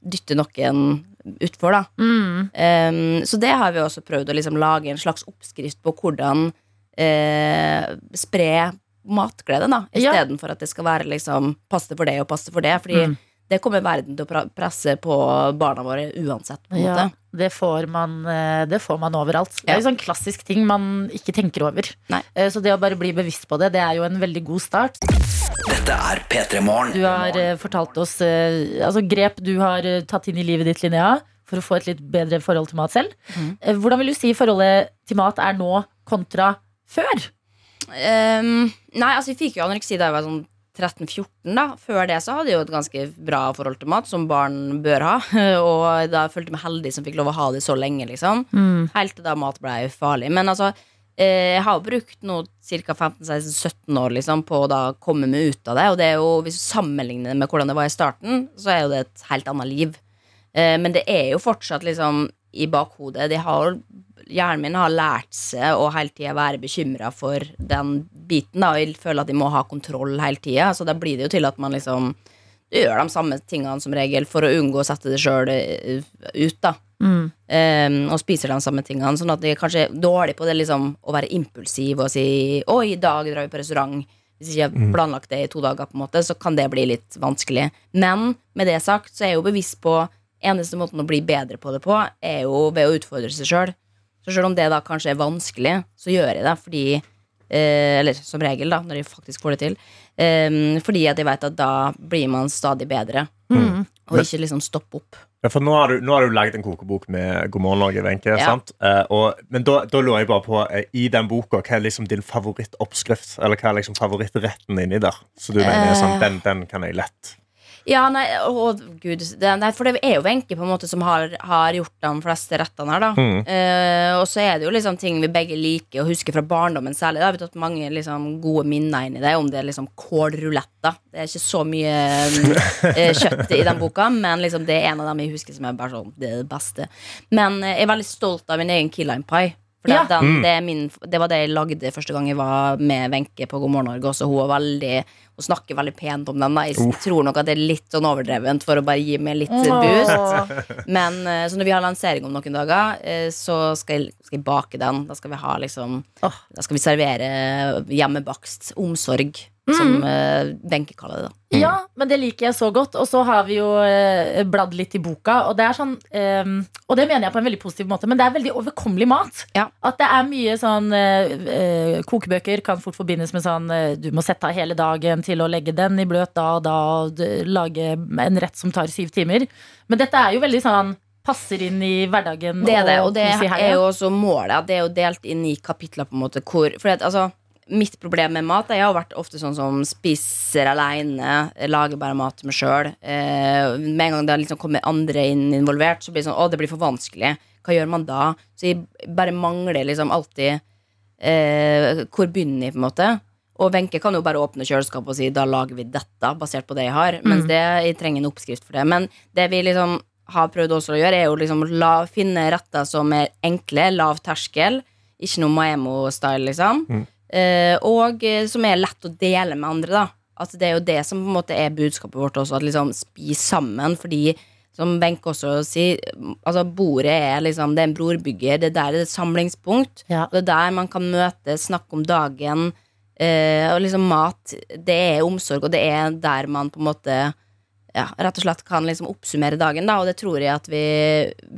Dytter noen utfor da Mm. Eh, Så det har vi også prøvd Å liksom lage en slags oppskrift på hvordan eh, Spre matglede da I Ja. stedet for at det skal være liksom Passe for det og passe for det Fordi Mm. det kommer verden til å pra- presse på barna våre uansett. på en Ja, måte. det får man, eh, det får man overalt. Det er jo sånn klassisk ting man ikke tenker over. Nei. Eh, Så det å bare bli bevisst på det, det er jo en veldig god start. Dette er P3 Morgen. Du har eh, fortalt oss eh, altså grep du har eh, tatt inn i livet ditt, Linnea, for å få et litt bedre forhold til mat selv. Mm. Eh, Hvordan vil du si forholdet til mat er nå kontra før? Ehm, nei, altså jeg fikk jo anoreksi da jeg var sånn 13-14 da Før det så hadde jeg jo et ganske bra forhold til mat Som barn bør ha (laughs) Og da følte jeg meg heldig som fikk lov å ha det så lenge liksom Helt til da mat ble farlig Men altså, eh, jeg har jo brukt nå Cirka 15-16-17 år liksom På å da komme meg ut av det Og det er jo, hvis du sammenligner det med hvordan det var i starten Så er jo det et helt annet liv Eh, Men det er jo fortsatt liksom i bakhodet. De har, hjernen min har lært seg å hele tida være bekymra for den biten. Da. og Jeg føler at de må ha kontroll hele tida. Så da blir det jo til at man liksom gjør de samme tingene som regel for å unngå å sette det sjøl ut. da Ehm, og spiser de samme tingene. Sånn at de er kanskje er dårlig på det liksom, å være impulsiv og si 'Oi, i dag drar vi på restaurant'. Hvis ikke jeg har planlagt det i to dager, på en måte så kan det bli litt vanskelig. Men med det sagt så er jeg jo bevisst på eneste måten å bli bedre på det på, er jo ved å utfordre seg sjøl. Så sjøl om det da kanskje er vanskelig, så gjør jeg det fordi eh, Eller som regel, da, når jeg faktisk får det til. Ehm, fordi at jeg veit at da blir man stadig bedre. Og ikke liksom stoppe opp. Ja, for nå har du, nå har du laget en kokebok med God morgen Norge, Wenche. Ja. sant? Eh, og, men da, da lurer jeg bare på, eh, i den boka, hva er liksom din favorittoppskrift? Eller hva er liksom favorittretten inni der? Så du mener sånn, den, den kan jeg lett. Ja, nei, å gud det, nei, For det er jo Wenche på en måte som har, har gjort de fleste rettene her, da. Eh, og så er det jo liksom ting vi begge liker og husker fra barndommen særlig. Da har vi tatt mange liksom, gode minner inn i det, om det er liksom kålruletter. Det er ikke så mye eh, kjøtt i den boka, men liksom, det er en av dem jeg husker som er bare sånn, det er det beste. Men eh, jeg er veldig stolt av min egen key lime pie. For det, Ja. den, det, er min, det var det jeg lagde første gang jeg var med Wenche på God morgen Norge. Også. Hun, var veldig, hun snakker veldig pent om den. Da. Jeg tror nok at det er litt sånn overdrevent for å bare gi meg litt eh, boost. Men eh, så når vi har lansering om noen dager, eh, så skal jeg, skal jeg bake den. Da skal vi ha liksom Åh. Da skal vi servere hjemmebakst omsorg, som eh, Wenche kaller det. da Ja, men det liker jeg så godt. Og så har vi jo eh, bladd litt i boka, og det er sånn eh, Og det mener jeg på en veldig positiv måte, men det er veldig overkommelig mat. Ja. At det er mye sånn eh, eh, Kokebøker kan fort forbindes med sånn eh, Du må sette av hele dagen til å legge den i bløt da og da, og d- lage en rett som tar syv timer. Men dette er jo veldig sånn Passer inn i hverdagen. Det er det, og det kos i helga. er jo også målet. at Det er jo delt inn i kapitler, på en måte. Hvor, fordi at, altså, mitt problem med mat er Jeg har vært ofte sånn som spiser aleine, lager bare mat til meg sjøl. Eh, med en gang det har liksom kommet andre inn involvert, så blir det sånn Å, det blir for vanskelig. Hva gjør man da? Så jeg bare mangler liksom alltid eh, Hvor begynner jeg, på en måte? Og Wenche kan jo bare åpne kjøleskapet og si da lager vi dette, basert på det jeg har. Mens det, jeg trenger en oppskrift for det. Men det vi liksom har prøvd også å gjøre, er jo liksom la, finne retter som er enkle, lav terskel. Ikke noe Maemo-style, liksom. Eh, og eh, som er lett å dele med andre, da. At det er jo det som på en måte er budskapet vårt også, at liksom spis sammen. Fordi, som Wenche også sier, altså bordet er liksom Det er en brorbygger. Det der er et samlingspunkt. Ja. Og det er der man kan møtes, snakke om dagen. eh, og liksom mat, det er omsorg, og det er der man på en måte ja, rett og slett kan liksom oppsummere dagen, da, og det tror jeg at vi,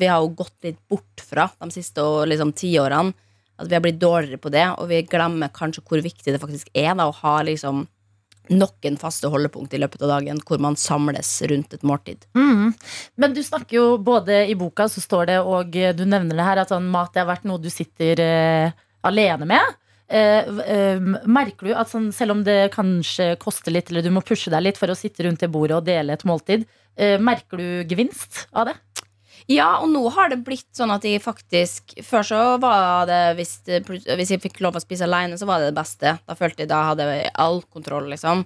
vi har jo gått litt bort fra de siste og liksom, tiårene. At vi har blitt dårligere på det, og vi glemmer kanskje hvor viktig det faktisk er da, å ha liksom noen faste holdepunkt i løpet av dagen hvor man samles rundt et måltid. Mm. Men du snakker jo både i boka, så står det, og eh, du nevner det her, at sånn mat det har vært noe du sitter eh, alene med. Eh, v- eh, merker du at sånn, selv om det kanskje koster litt, eller du må pushe deg litt for å sitte rundt det bordet og dele et måltid, eh, merker du gevinst av det? Ja, og nå har det blitt sånn at jeg faktisk Før så var det Hvis, det, plut- hvis jeg fikk lov å spise alene, så var det det beste. Da følte jeg da hadde jeg all kontroll, liksom.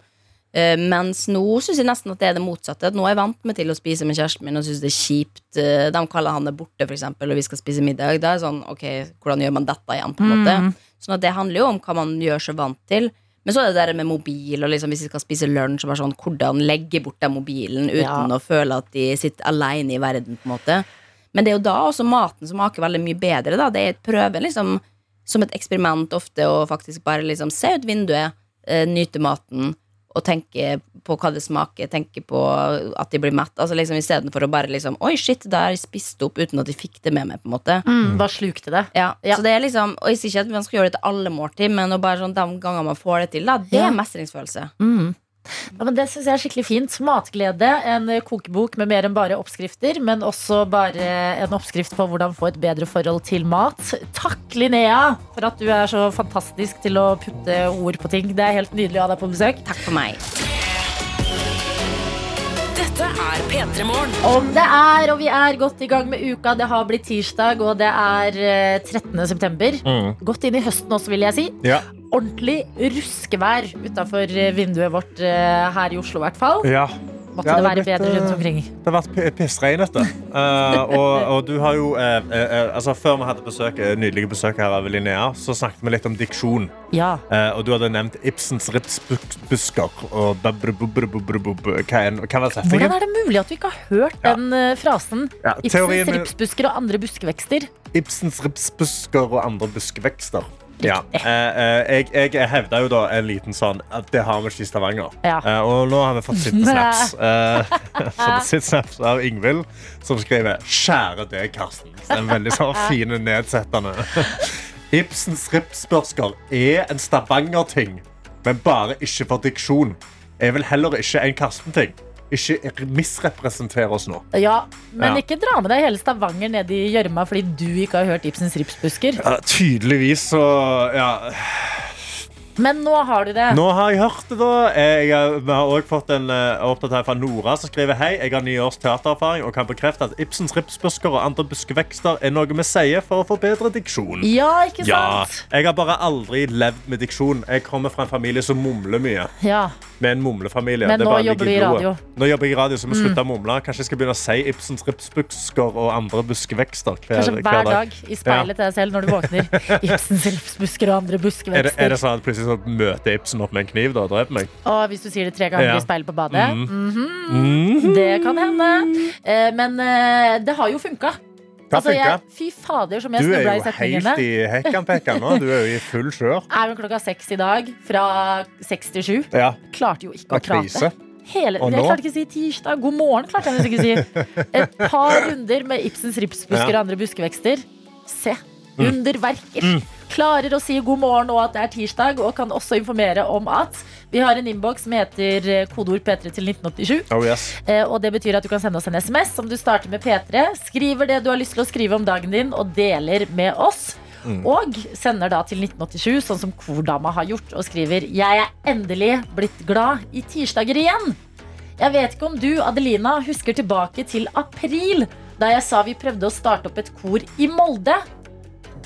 Eh, mens nå syns jeg nesten at det er det motsatte. At Nå er jeg vant meg til å spise med kjæresten min og syns det er kjipt. Eh, De kaller han det borte, for eksempel, og vi skal spise middag. Da er det sånn, ok, hvordan gjør man dette igjen, på en måte? Sånn at det handler jo om hva man gjør seg vant til. Men så er det det der med mobil, og liksom hvis vi skal spise lunsj, så bare sånn, hvordan legge bort den mobilen uten Ja. å føle at de sitter alene i verden, på en måte. Men det er jo da også maten som smaker veldig mye bedre, da. Det er et prøve, liksom, som et eksperiment ofte, og faktisk bare liksom se ut vinduet, eh, nyte maten, og tenke på hva det smaker, tenke på at de blir mett. Altså liksom Istedenfor å bare liksom Oi, shit, det har jeg spist opp uten at de fikk det med meg, på en måte. Hva slukte det? Ja, Ja. så det er liksom Og jeg sier ikke at man skal gjøre det til alle måltid, men å bare sånn de ganger man får det til, da, det Ja. er mestringsfølelse. Mm. Ja, men det syns jeg er skikkelig fint. Matglede, en eh, kokebok med mer enn bare oppskrifter, men også bare en oppskrift på hvordan få et bedre forhold til mat. Takk, Linnea, for at du er så fantastisk til å putte ord på ting. Det er helt nydelig å ha deg på besøk. Takk for meg. Dette er P3 Morgen. Om det er, og vi er godt i gang med uka. Det har blitt tirsdag, og det er eh, 13. september. Godt inn i høsten også, vil jeg si. Ja. Ordentlig ruskevær utafor vinduet vårt eh, her i Oslo, i hvert fall. Ja. Måtte Ja, det det være er blitt, bedre rundt eh, omkring. Det har vært p- pissregn, dette. Eh, og, og du har jo eh, eh, altså Før vi hadde besøk, eh, nydelige besøk her av Linnea, så snakket vi litt om diksjon. Ja. Eh, og du hadde nevnt Ibsens ripsbusker og babrububrubrubrub- Hva er hva var Hvordan setningen? er det mulig at du ikke har hørt Ja. den eh, frasen? Ja, teorien Ibsens min- ripsbusker og andre buskevekster. Ibsens ripsbusker og andre buskevekster. Ja. Eh, eh, jeg jeg hevda jo da en liten sånn at det har vi ikke i Stavanger. Ja. Eh, og nå har vi fått (laughs) sitte snaps. Eh, (laughs) fått sitt snaps av Ingvild, som skriver 'Kjære deg, Karsten'. Så En veldig sånn fin nedsettende. (laughs) Ibsens ripsbusker er en Stavanger-ting, men bare ikke for diksjon. Er vel heller ikke en Karsten-ting. Ikke misrepresentere oss nå. Ja, men Ja. ikke dra med deg hele Stavanger ned i gjørma fordi du ikke har hørt Ibsens ripsbusker. Ja, tydeligvis så ja, Men nå har du det. Nå har jeg hørt det, da. Eh, Jeg, har- vi har også fått en eh, oppdatering fra Nora som skriver Hei, jeg har ni års teatererfaring og kan bekrefte at Ibsens ripsbusker og andre buskevekster er noe vi sier for å forbedre diksjon. Ja, ikke sant? Jeg har bare aldri levd med diksjon. Jeg kommer fra en familie som mumler mye. Ja. Med en mumlefamilie. Men Det nå bare ligger jobber du i blodet. radio. Mm. Nå jobber jeg i radio, så må jeg slutte å mumle. Kanskje jeg skal begynne å si Ibsens ripsbusker og andre buskevekster hver, Kanskje hver dag i speilet til deg selv når du våkner. (laughs) Ibsens ripsbusker og andre Er det, er buskevekster. det sånn at plutselig så møter Ibsen opp med en kniv da, og dreper meg? Og hvis du sier det tre ganger Ja. Mm. i speilet på badet. Mhm. Det kan hende. Eh, Men eh, det har jo funka. Hva Altså, jeg, funker? fy fader, som jeg Du er snubla i jo setningene. helt i hekkan-pekkan nå. Du er jo i full kjør. er jo klokka seks i dag, fra seks til sju. (laughs) Ja, Klarte jo ikke å det er krise. prate. Hele, Og jeg nå? klarte ikke å si tirsdag. God morgen, klarte jeg nesten ikke å si. Et par runder med Ibsens ripsbusker og andre buskevekster. Se. Mm. Underverker. Klarer å si god morgen og at det er tirsdag, og kan også informere om at vi har en innboks som heter eh, kodeord P3 til 1987. Oh yes. Eh, Og det betyr at du kan sende oss en SMS som du starter med P3. Skriver det du har lyst til å skrive om dagen din, og deler med oss. Og sender da til 1987, sånn som kordama har gjort, og skriver Jeg er endelig blitt glad i tirsdager igjen. Jeg vet ikke om du, Adelina, husker tilbake til april, Da jeg sa vi prøvde å starte opp et kor i Molde.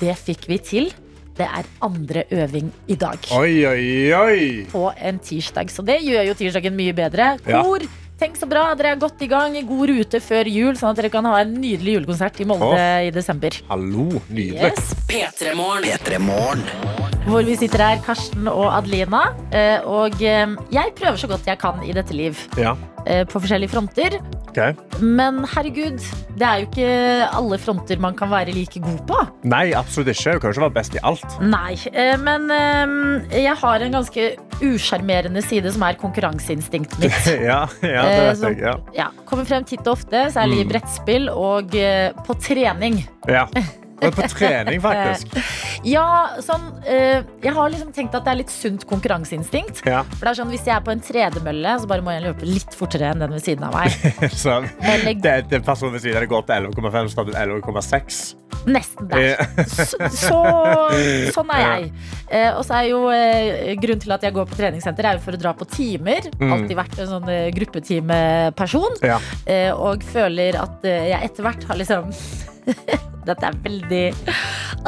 Det fikk vi til. Det er andre øving i dag. Oi, oi, oi. På en tirsdag. Så det gjør jo tirsdagen mye bedre. Ja. Kor, tenk så bra. Dere er godt i gang, i god rute før jul, sånn at dere kan ha en nydelig julekonsert i Molde Åh. i desember. Hallo. Nydelig. Yes. P3morgen. P3 Morgen. Hvor vi sitter her, Karsten og Adelina. Eh, Og eh, jeg prøver så godt jeg kan i dette liv. Ja. eh, På forskjellige fronter. Ok. Men herregud, det er jo ikke alle fronter man kan være like god på. Nei, absolutt ikke. Du kan jo ikke være best i alt. (laughs) Nei, eh, men eh, jeg har en ganske usjarmerende side som er konkurranseinstinktet (laughs) mitt. Ja, ja det Eh, vet jeg. Ja. som- ja, kommer frem titt og ofte, særlig i brettspill og eh, på trening. Ja. Og (laughs) på trening, faktisk. Eh. Ja, sånn eh, Jeg har liksom tenkt at det er litt sunt konkurranseinstinkt. Ja, (laughs) For det er sånn, Hvis jeg er på en tredemølle, så bare må jeg løpe litt fortere enn den ved siden av meg. (laughs) så Eller det, det personen ved siden av deg går opp til 11,5, så tar du 11,6. Nesten der. Ja. (laughs) Så, så, sånn er jeg. Eh, og så er jo eh, grunnen til at jeg går på treningssenter, er jo for å dra på timer. Alltid vært en sånn eh, gruppetimeperson. Mm. Ja. Eh, og føler at eh, jeg etter hvert har liksom (laughs) Dette er veldig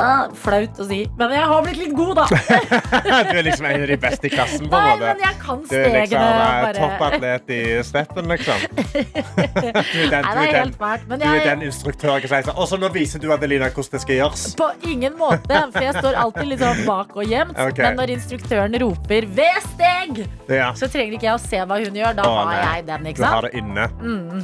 ah, flaut å si, men jeg har blitt litt (laughs) god, da. Du er liksom en av de beste i klassen, på Nei, en men måte. jeg kan Du er stegene. liksom eh, bare. toppatlet i steppen, (laughs) liksom. Du er den, Nei, du det er er den, helt fælt. Men du er jeg den instruktøren som sier sånn Og så nå viser du Adelina hvordan det skal gjøres. På ingen måte, for jeg står alltid litt sånn bak og gjemt. (laughs) Ok. Men når instruktøren roper 'ved steg', Ja. så trenger ikke jeg å se hva hun gjør. Da Å, har nei. jeg den. Du ikke sant? har det inne.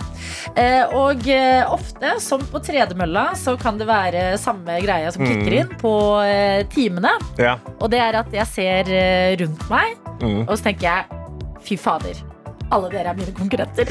Eh, og eh, ofte, som på tredemølla, så kan det være samme greia Mm. som kicker inn på eh, timene. Ja. Og det er at jeg ser eh, rundt meg, Mm. og så tenker jeg fy fader. Alle dere er mine konkurrenter.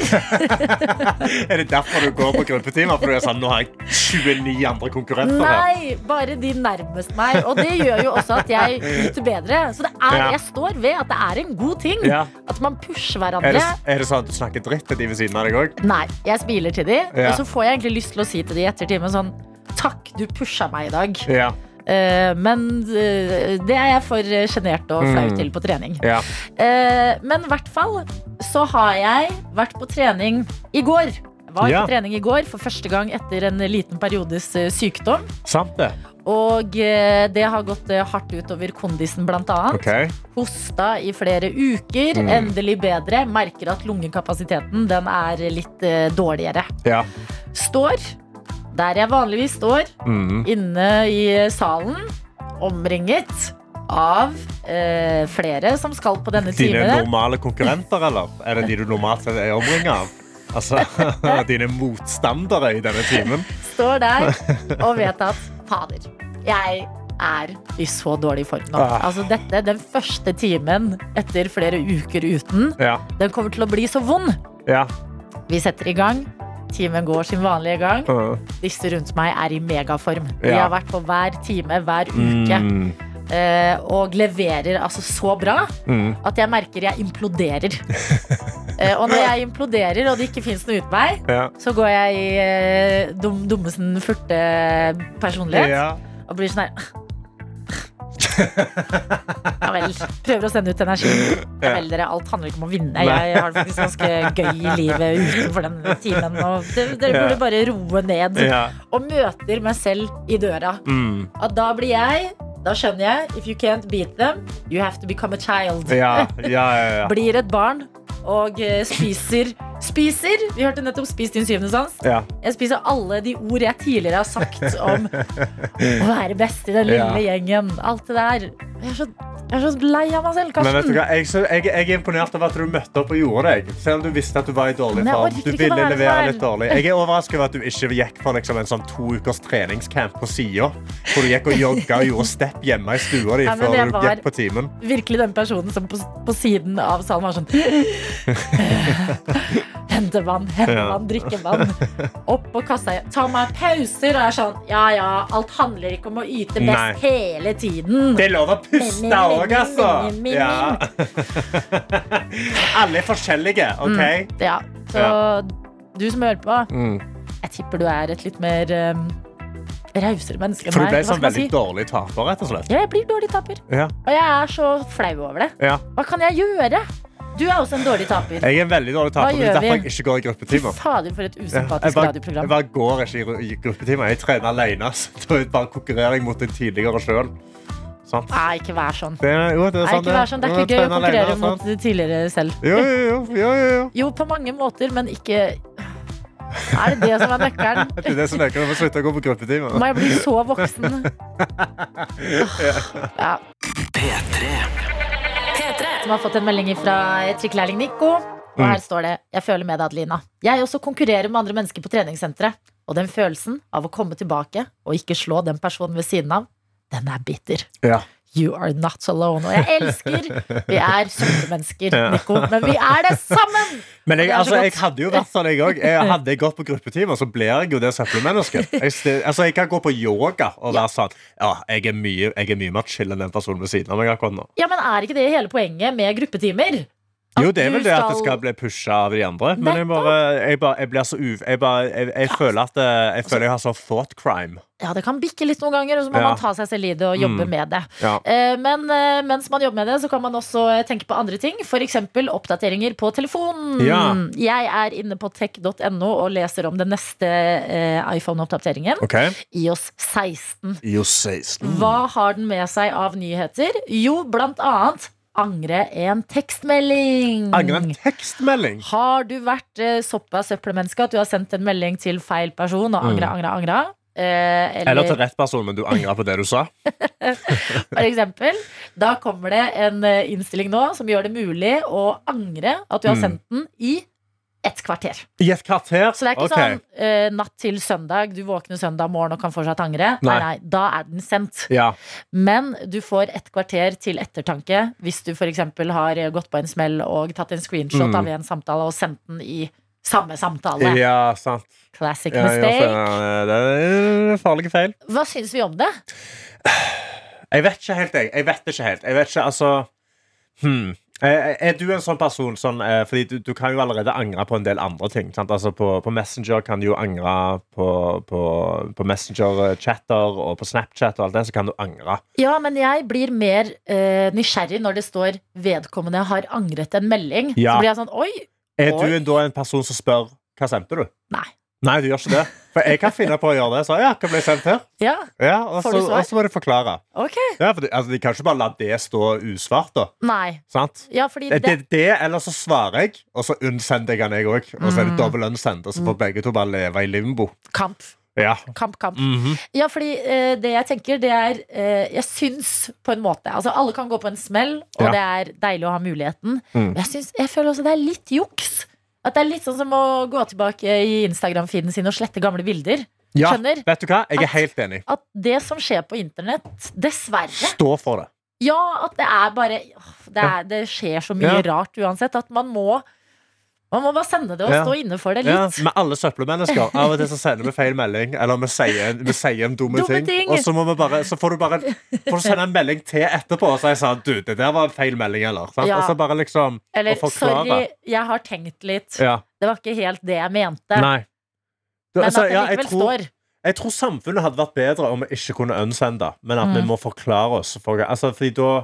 (laughs) Er det derfor du går på gruppetimer? For du er sånn, nå har jeg 29 andre konkurrenter her. Nei, bare de nærmest meg. Og det gjør jo også at jeg yter bedre. Så det er, Ja. jeg står ved at det er en god ting. Ja. At man pusher Er det, hverandre. er det sånn at du snakker dritt til de ved siden av deg òg? Nei, jeg smiler til de, Ja. og så får jeg egentlig lyst til å si til de etter timen sånn Takk, du pusha meg i dag. Ja. Eh, men eh, det er jeg for sjenert og flau Mm. til på trening. Ja. Eh, men i hvert fall så har jeg vært på trening i går. Jeg var Ja. på trening i går for første gang etter en liten periodes eh, sykdom. Sant det. Og eh, det har gått eh, hardt utover kondisen, blant annet. Ok. Mm. Hosta i flere uker. Endelig bedre. Merker at lungekapasiteten den er litt eh, dårligere. Ja. Står der jeg vanligvis står, Mm. inne i salen, omringet av eh, flere som skal på denne Dine timen. normale konkurrenter, eller? Er det de du normalt sett er omringet av? Altså, (laughs) dine motstandere i denne timen? Står der (laughs) og vet at fader, jeg er i så dårlig form nå. Ah. Altså dette, den første timen etter flere uker uten, Ja. den kommer til å bli så vond. ja. Vi setter i gang. Timen går sin vanlige gang. Uh. Disse rundt meg er i megaform. De Ja. har vært på hver time hver uke eh, og leverer altså så bra Mm. at jeg merker jeg (laughs) imploderer. Eh, og når jeg imploderer og det ikke fins noen utvei, Ja. så går jeg i eh, dum, dummesen furte-personlighet ja. og blir sånn her Ja vel. Prøver å sende ut energi. Ja vel, dere. Alt handler ikke om å vinne. Jeg har det faktisk ganske gøy i livet utenfor den timen. Og dere, dere burde bare roe ned. ja. Og møter meg selv i døra. Mm. At da blir jeg Da skjønner jeg. If you can't beat them, you have to become a child. (laughs) Ja, ja, ja, ja. Blir et barn og eh, spiser Spiser! Vi hørte nettopp 'Spis din syvende sans'. ja. Jeg spiser alle de ord jeg tidligere har sagt om å være best i den Ja. lille gjengen. Alt det der. Jeg er så, jeg er så lei av meg selv, Men vet du Karsten. hva? Jeg, sy- jeg, jeg er imponert over at du møtte opp og gjorde deg. Selv om du visste at du var i dårlig Men jeg form. orker Du ikke ville være levere der. litt dårlig. Jeg er overrasket over at du ikke gikk på liksom en sånn to ukers treningscamp på sida. Hvor du gikk og jogga og gjorde step hjemme i stua di Ja, men før jeg du var- gikk på timen. Virkelig den personen som på, på siden av salen var sånn (laughs) Hente vann, hente Ja. vann, drikke vann. Opp på kassa igjen. Ta meg pauser. Og jeg er sånn Ja ja, alt handler ikke om å yte Nei. best hele tiden. Det er lov å puste Min, min, min, òg, altså! min, min, Mm. min. Ja. (laughs) Alle er forskjellige, OK? Ja, så Ja. du som hører på, Mm. jeg tipper du er et litt mer um, rausere menneske enn For du meg. ble Hva sånn skal man si? veldig dårlig taper, rett og slett. Ja, jeg blir dårlig taper. Ja. Og jeg er så flau over det. Ja. Hva kan jeg gjøre? Du er også en dårlig taper. Jeg er en veldig dårlig Hva taper. Det gjør er derfor vi? jeg ikke går i Fy gruppetimer. fader, for et Ja, Jeg usympatisk bare, jeg radioprogram. bare går ikke i ru- i gruppetimer. Jeg trener alene. (laughs) Så da er det bare konkurrerer jeg mot en tidligere sjøl. Sant? Nei, ikke vær sånn. Det, er- jo, det er altså. Nei, sant, ikke vær sånn. Det er Jo, ikke gøy å trener alene, konkurrere sant? mot det tidligere selv. Jo, jo, jo. jo, jo, (laughs) jo. Jo, på mange måter, men ikke Er det det som er nøkkelen? (laughs) Det er det som øker. Du må slutte å gå på gruppetimer. Må jeg bli så (laughs) voksen? Ja. P3. Som har fått en melding fra trikkelærling Nico. Og her står det Jeg føler med deg, Adelina. Jeg også konkurrerer med andre mennesker på treningssenteret. Og den følelsen av å komme tilbake og ikke slå den personen ved siden av, den er bitter. Ja. You are not alone. Og jeg elsker Vi er søppelmennesker, Nico, men vi er det sammen! Men jeg, Det er så altså, jeg godt. hadde jo vært sånn, jeg òg. Hadde jeg gått på gruppetimer, så blir jeg jo det (laughs) søppelmennesket. Jeg, sti- altså, jeg kan gå på yoga og være sånn Ja, jeg er mye, jeg er mye mer chill enn den personen ved siden av meg akkurat nå. Ja, men er ikke det hele poenget med gruppetimer? At Jo, det er vel du det at det skal bli pusha av de andre. Men jeg bare, jeg bare jeg blir så uv... Jeg, bare, jeg, jeg føler at eh, Altså- jeg, føler jeg har sånn thought crime. Ja, det kan bikke litt noen ganger, og så må Ja. man ta seg selv i det og jobbe med det. Ja. Eh, Men eh, mens man jobber med det, så kan man også eh, tenke på andre ting. F.eks. oppdateringer på telefonen. Ja. Jeg er inne på tech.no og leser om den neste eh, iPhone-oppdateringen. OK? IOS 16. Jo, 16. Hva har den med seg av nyheter? Jo, blant annet angre en tekstmelding. Angrer en tekstmelding. Har du vært eh, såpass søppelmenneske at du har sendt en melding til feil person og angra, angra, angra? Eh, Mm. Eller til rett person, men du angrer på det du sa. For eksempel, da kommer det en eh, innstilling nå som gjør det mulig å angre at du har Mm. sendt den i et kvarter. I et kvarter. Så det er ikke Ok. sånn eh, natt til søndag, du våkner søndag morgen og kan fortsatt angre. Nei, Nei. nei, da er den sendt. Ja. Men du får et kvarter til ettertanke hvis du f.eks. har eh, gått på en smell og tatt en screenshot Mm. av en samtale og sendt den i samme samtale. ja, sant. Classic Ja, ja, mistake. så- eh, det er farlige feil. Hva syns vi om det? Jeg vet ikke helt, jeg. Jeg vet ikke helt. Jeg vet ikke, altså hmm. Eh, Er du en sånn person sånn eh, Fordi du, du kan jo allerede angre på en del andre ting. Sant? Altså på, på Messenger kan du jo angre på, på, på Messenger-chatter og på Snapchat og alt det, så kan du angre. Ja, men jeg blir mer eh, nysgjerrig når det står 'vedkommende har angret en melding'. Ja. Så blir jeg sånn 'oi'. Er Oi. du en- da en person som spør hva sendte du? Nei. Nei, du gjør ikke det. For jeg kan finne på å gjøre det. Så ja, hva ble sendt her? Ja, Ja, og Får så du svar? og så må du forklare. ok. Ja, for de, altså, de kan ikke bare la det stå usvart, da. Nei. Sant? Ja, fordi Eh, Det, det, det, det, eller så svarer jeg, og så unnsender jeg han jeg òg. Og Mm. så er det dobbel unsend, og så får begge to bare leve i limbo. Kamp. Ja. Kamp, kamp. Mhm. Ja, fordi eh, det jeg tenker, det er eh, Jeg syns på en måte Altså, alle kan gå på en smell, og Ja. det er deilig å ha muligheten. Mm. Men jeg, syns- jeg føler også det er litt juks. At det er litt sånn som å gå tilbake i Instagram-feeden sin og slette gamle bilder. ja. Skjønner. Vet du hva? Jeg At- er helt enig. At det som skjer på internett, dessverre Stå for det. Ja, at det er bare åh, Det, er, det skjer så mye rart uansett at man må man må bare sende det og Ja. stå inne for det Ja, litt. med alle søppelmennesker. Av og til så sender vi feil melding, eller vi sier, vi sier en dumme Dumme ting. ting. Og så, må vi bare, så får du bare får du sende en melding til etterpå og si sånn Du, det der var en feil melding, eller? Sant? Ja. Og så bare liksom Eller å forklare. sorry, jeg har tenkt litt. Ja. Det var ikke helt det jeg mente. Nei. Du, Men altså, at det ja, jeg likevel tror- står. Jeg tror samfunnet hadde vært bedre om vi ikke kunne unsende, men at vi Mm. må forklare oss. For, altså, fordi da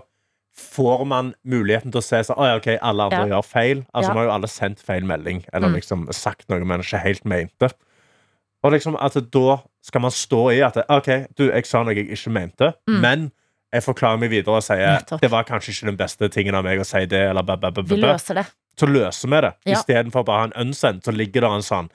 får man muligheten til å se sånn Å ja, OK, alle andre Ja. gjør feil. Altså, Ja. Vi har jo alle sendt feil melding, eller Mm. liksom sagt noe man ikke helt mente. Og liksom at da skal man stå i at OK, du, jeg sa noe jeg ikke mente, Mm. men jeg forklarer meg videre og sier Nettopp. det var kanskje ikke den beste tingen av meg å si det, eller bæ, bæ, bæ, bæ, Vi bæ. løser det. Så løser vi det. Ja. Istedenfor bare å ha en unsend, så ligger det en sånn,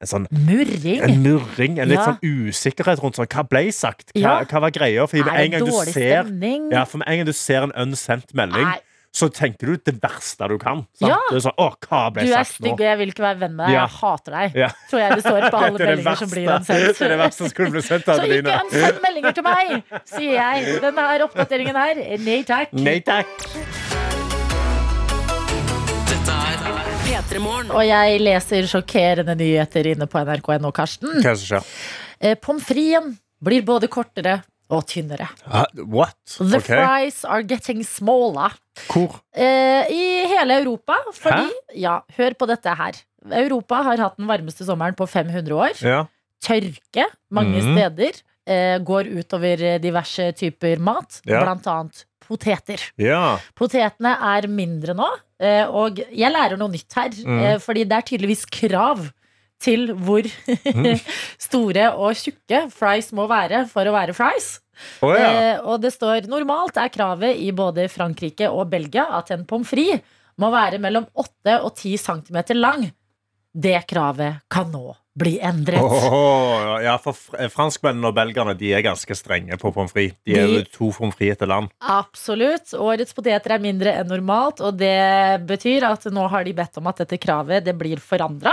en sånn en Murring. murring, en litt Ja. sånn usikkerhet rundt sånn, hva ble sagt, hva, Ja. hva var greia? Fordi med Er det en gang du dårlig ser, stemning? ja, for med en gang du ser en unsendt melding, Nei, så tenker du det verste du kan. Sant? Ja. Du er sånn, å, hva du ble er sagt stygg, nå? og jeg vil ikke være venn med deg. Ja. Jeg hater deg. Ja. Tror jeg det (laughs) står på alle Det er det meldinger som blir verste. ansendt. Det er det verste som skulle bli sendt, Så ikke Adelina. ansett meldinger til meg, sier jeg. Denne her oppdateringen her, nei takk. Nei takk. Mm. P3morgen. Og jeg leser sjokkerende nyheter inne på nrk.no, Karsten. Hva er det som skjer? Eh, Pommes fritesen blir både kortere og tynnere. Ah, What? The Ok. fries are getting smaller. Hvor? Eh, I hele Europa, fordi Hæ? Ja, hør på dette her. Europa har hatt den varmeste sommeren på 500 år. Ja. Tørke mange Mhm. steder. Eh, går utover diverse typer mat, Ja. blant annet poteter. Ja. Potetene er mindre nå, Eh, Og jeg lærer noe nytt her, Mm. eh, fordi det er tydeligvis krav til hvor Mm. (laughs) store og tjukke fries må være for å være fries. Å ja. Eh, og det står normalt er kravet i både Frankrike og Belgia at en pommes frites må være mellom 8 og 10 cm lang. Det kravet kan nå bli endret. Åh, ja, for fr- eh, franskmennene og belgerne De er ganske strenge på pommes frites. De er De- jo to pommes frites etter land. Absolutt. Årets poteter er mindre enn normalt, og det betyr at nå har de bedt om at dette kravet det blir forandra.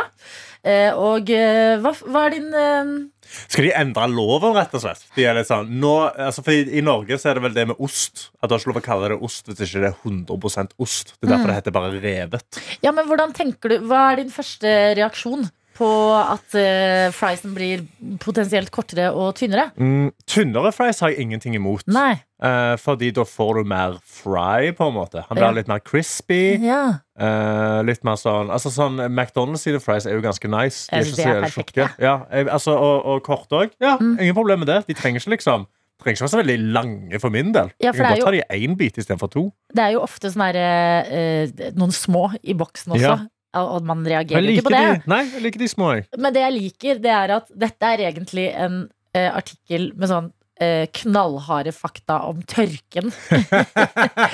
Eh, og eh, hva, hva er din eh, Skal de endre loven, rett og slett? De er litt sånn, nå, altså for I Norge så er det vel det med ost. At Du har ikke lov å kalle det ost hvis ikke det er 100 ost. Mm. Det er derfor det heter bare revet. Ja, men hvordan tenker du Hva er din første reaksjon på at eh, friesen blir potensielt kortere og tynnere? Mm, tynnere fries har jeg ingenting imot. Nei. Eh, fordi da får du mer fry, på en måte. Han blir Ja. Mhm. litt mer crispy. Ja. eh, litt mer sånn Altså sånn McDonald's sine fries er jo ganske nice. De Jeg er synes Altså, det ikke så er jævlig perfekt, Mm. tjukke. Ja, jeg- altså, og, og korte òg. Ja, Ingen problem med det. De trenger ikke liksom Trenger ikke være så veldig lange for min del. Ja, jeg for kan det godt er ta de i én bit istedenfor to. Det er jo ofte sånn her, eh, eh, noen små i boksen også. Ja. Og og man Jeg reagerer jo ikke liker på det. de, nei, jeg liker de små, jeg. Men det jeg liker, det er at dette er egentlig en eh, artikkel med sånn eh, knallharde fakta om tørken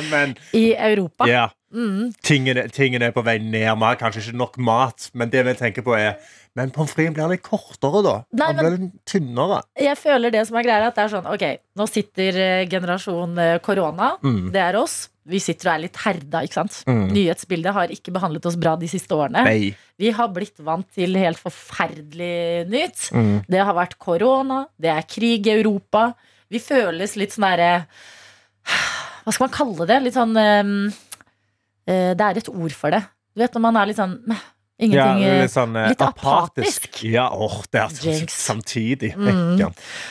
Men i Europa. ja, Mm. tingene, tingene er på vei ned. Vi har kanskje ikke nok mat, men det vi tenker på, er Men pommes fritesen blir litt kortere, da. Nei, Den blir litt tynnere. Jeg føler det som er greia, er at det er sånn Ok, nå sitter eh, generasjon eh, korona. Mm. Det er oss. Vi sitter og er litt herda, ikke sant? Mm. Nyhetsbildet har ikke behandlet oss bra de siste årene. Nei. Vi har blitt vant til helt forferdelig nytt. Mm. Det har vært korona, det er krig i Europa. Vi føles litt sånn derre Hva skal man kalle det? Litt sånn ehm, eh, Det er et ord for det. Du vet når man er litt sånn meh, Ja, Ingenting eh, litt sånn eh, litt apatisk. Ja, åh, det er sånn Jinx. samtidig. Mm. Ja.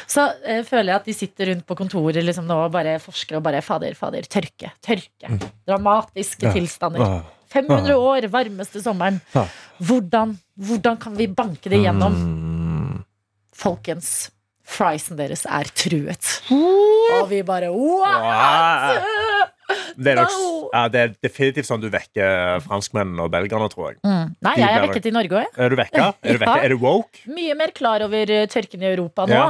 Så eh, føler jeg at de sitter rundt på kontoret liksom, nå og bare forsker og bare Fader, fader. Tørke. Tørke. Dramatiske Mm. Ja. tilstander. Åh. 500 år, varmeste sommeren. Ja. Hvordan, hvordan kan vi banke det gjennom? Mm. Folkens, friesen deres er truet. Og vi bare wow! Åh. ah, Det, er nok, No. ja, det er definitivt sånn du vekker franskmennene og belgerne, tror jeg. Mm. Nei, jeg er vekket i Norge òg. Er du (laughs) vekka? Er du, vekka? Ja. Er du woke? Mye mer klar over eh, tørken i Europa nå. Ja.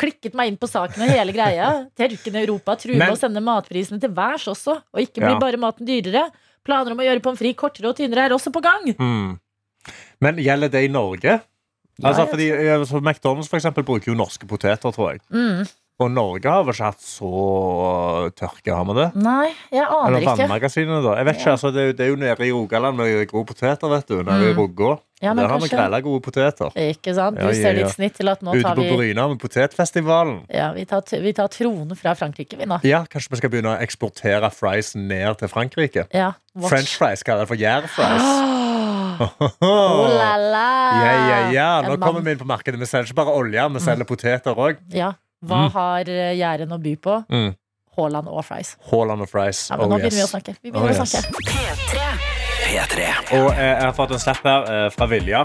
Klikket meg inn på saken og hele greia. Tørken i Europa truer Men- med å sende matprisene til værs også. Og ikke blir Ja. bare maten dyrere. Planer om å gjøre pommes frites kortere og tynnere er også på gang. Mm. Men gjelder det i Norge? Altså, jeg fordi eh, så McDonald's for eksempel, bruker jo norske poteter, tror jeg. Mm. Og Norge har vel ikke hatt så eh, tørke, har vi det? Nei, jeg aner Eller ikke. vannmagasinene, da. Jeg vet ikke, altså, det, er jo- det er jo nede i Rogaland med gode poteter, vet du. Nede i Mm. Rogå. Ja, men Der har vi kanskje- grella gode poteter. Ikke sant? Du Ja, ja, ser ja. litt snitt til at nå Ute tar på vi Bryna med potetfestivalen. ja, vi tar, vi tar tronen fra Frankrike, vi nå. Ja, Kanskje vi skal begynne å eksportere fries ned til Frankrike? Ja, watch. French fries kaller jeg det for gjærfries. Ah. (gasps) (laughs) Oh Oh, la la! ja, ja, ja. Nå Eh, En mann- kommer Mm. vi inn på markedet. Vi selger ikke bare olje, vi selger poteter òg. Ja. Hva har eh, Jæren å by på? Mm. Haaland og fries. Haaland og fries. Ja, men oh, nå begynner vi å yes. snakke. Vi begynner Oh, å snakke. P3 Og eh, jeg har fått en snap her eh, fra Vilja.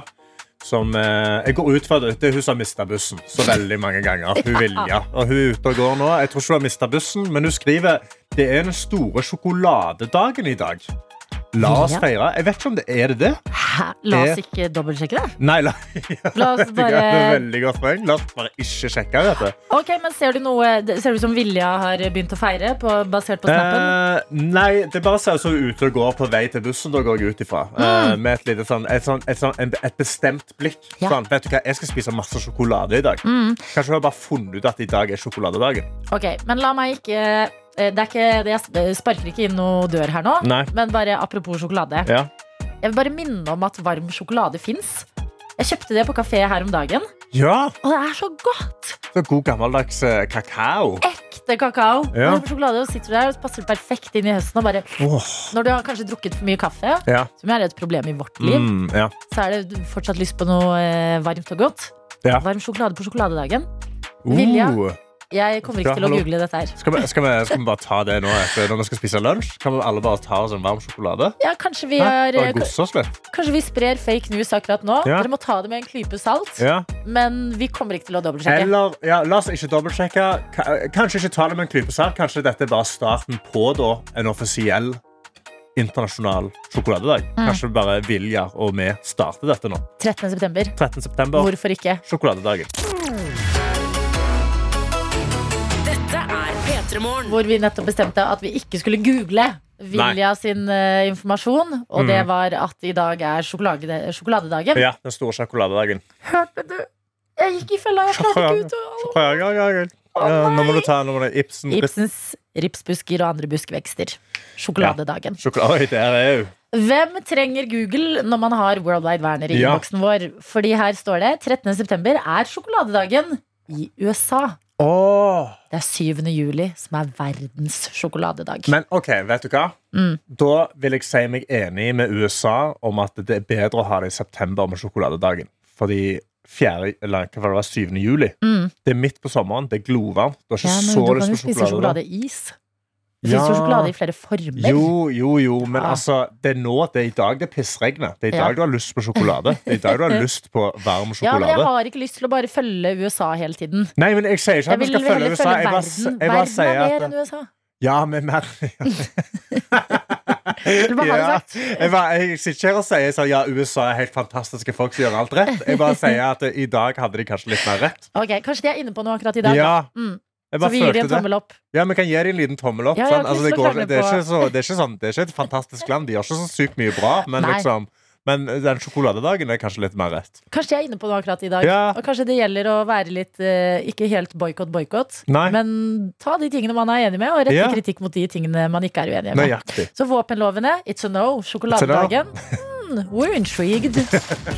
Som eh, Jeg går ut fra det. det er hun som har mista bussen så veldig mange (laughs) ganger. Hun Vilja. Og hun er ute og går nå. Jeg tror ikke hun har mista bussen, men hun skriver det er den store sjokoladedagen i dag. La oss Vilja? feire. Jeg vet ikke om det er det. det. Hæ? La oss ikke dobbeltsjekke det. Nei, la, (laughs) La oss Det er bare veldig godt poeng. La oss bare ikke sjekke dette. Ok, men Ser du noe Ser du som Vilja har begynt å feire, på, basert på snappen? Eh, nei, det bare ser ut som hun er ute og går på vei til bussen. Da går jeg ut ifra. Eh, med et, lite sånn, et, sånn, et, sånn, en- et bestemt blikk. Mm. Ja. Mm. Sånn, vet du hva, jeg skal spise masse sjokolade i dag. Kanskje hun har bare funnet ut at i dag er sjokoladedagen. Ok, Men la meg ikke eh, det er ikke, Jeg eh, sparker ikke inn noe dør her nå, Nei. men bare apropos sjokolade. Ja. Jeg vil bare minne om at varm sjokolade fins. Jeg kjøpte det på kafé her om dagen, ja og det er så godt! så god gammeldags eh, kakao. ekte kakao. Ja. Varm sjokolade, og sitter du der og passer perfekt inn i høsten. Og bare, Åh. når du har kanskje drukket for mye kaffe, Ja. som er et problem i vårt liv, Mm, ja. så er det fortsatt lyst på noe eh, varmt og godt. Ja. Varm sjokolade på sjokoladedagen. Uh, Vilja. Jeg kommer ikke Ja, til å hallo. google dette her. Skal vi, skal, vi, skal vi bare ta det nå etter når vi skal spise lunsj? Kan vi alle bare ta oss en varm sjokolade? Ja, kanskje, vi Hæ? er, Bare gosse oss litt? kanskje vi sprer fake news akkurat nå. Ja. Dere må ta det med en klype salt. Ja. Men vi kommer ikke til å dobbeltsjekke. Eller, ja, La oss ikke dobbeltsjekke. Ka- Kanskje ikke ta det med en klype salt. Kanskje dette er bare starten på da, en offisiell internasjonal sjokoladedag. Kanskje bare Vilja og vi starter dette nå. 13. september. 13. september, Hvorfor ikke? sjokoladedagen. Dette er P3morgen. Hvor vi nettopp bestemte at vi ikke skulle google Vilja sin eh, informasjon. Og det var at i dag er sjokolade, sjokoladedagen. Mm. Ja, den store sjokoladedagen. Hørte du? Jeg gikk i fella. Jeg klarte ikke ut å- Sjokoladedagen. Ja, nå må du ta nå må du Ibsen. Ibsens ripsbusker og andre buskvekster. Sjokoladedagen. Sjokolade. Oi, der er jeg jo. Hvem trenger Google når man har World Wide Werner i Ja. innboksen vår? Fordi her står det 13. september er sjokoladedagen i USA. Åh. Det er 7. juli som er verdens sjokoladedag. Men ok, vet du hva? Mm. Da vil jeg si meg enig med USA om at det er bedre å ha det i september med sjokoladedagen. Fordi 4, eller hva var det, 7. juli. Det er midt på sommeren, det er glovarmt. Du har Mm. ikke ja, men så du kan lyst jo på spise sjokolade. da. sjokoladeis. Det finnes jo sjokolade i flere former. Jo, jo, jo, men Ja. altså, det er nå, det er i dag det pissregner. Det er i Ja. dag du har lyst på sjokolade. Det er i dag du har (laughs) lyst på Ja, varm men sjokolade. jeg har ikke lyst til å bare følge USA hele tiden. Nei, men jeg sier ikke Jeg at vi vil skal følge heller USA. følge Jeg bare, verden. jeg bare Verden sier er mer at enn USA. Ja, men mer Eller hva har du Ja, sagt? jeg, bare, jeg sitter her og sier sånn, ja, USA er helt fantastiske folk som gjør alt rett. Jeg bare sier at eh, i dag hadde de kanskje litt mer rett. Ok, Kanskje de er inne på noe akkurat i dag. Ja, da. Mm. jeg Så bare vi gir de følte en det. tommel opp. Ja, Vi kan gi dem en liten tommel opp. Ja, jeg har sånn. ikke altså, lyst det, til å går, krangle det, er på- ikke så, det, er ikke sånn, det er ikke et fantastisk land. De gjør ikke så sykt mye bra, men, Nei. liksom, men den sjokoladedagen er kanskje litt mer rett. Kanskje jeg er inne på noe akkurat i dag. Ja. Og kanskje det gjelder å være litt eh, ikke helt boikott, boikott. Nei. Men ta de tingene man er enig med, og rette Ja. kritikk mot de tingene man ikke er uenig med. Nøyaktig. Så våpenlovene, it's a no. Sjokoladedagen, mm, we're intrigued. P3morgen.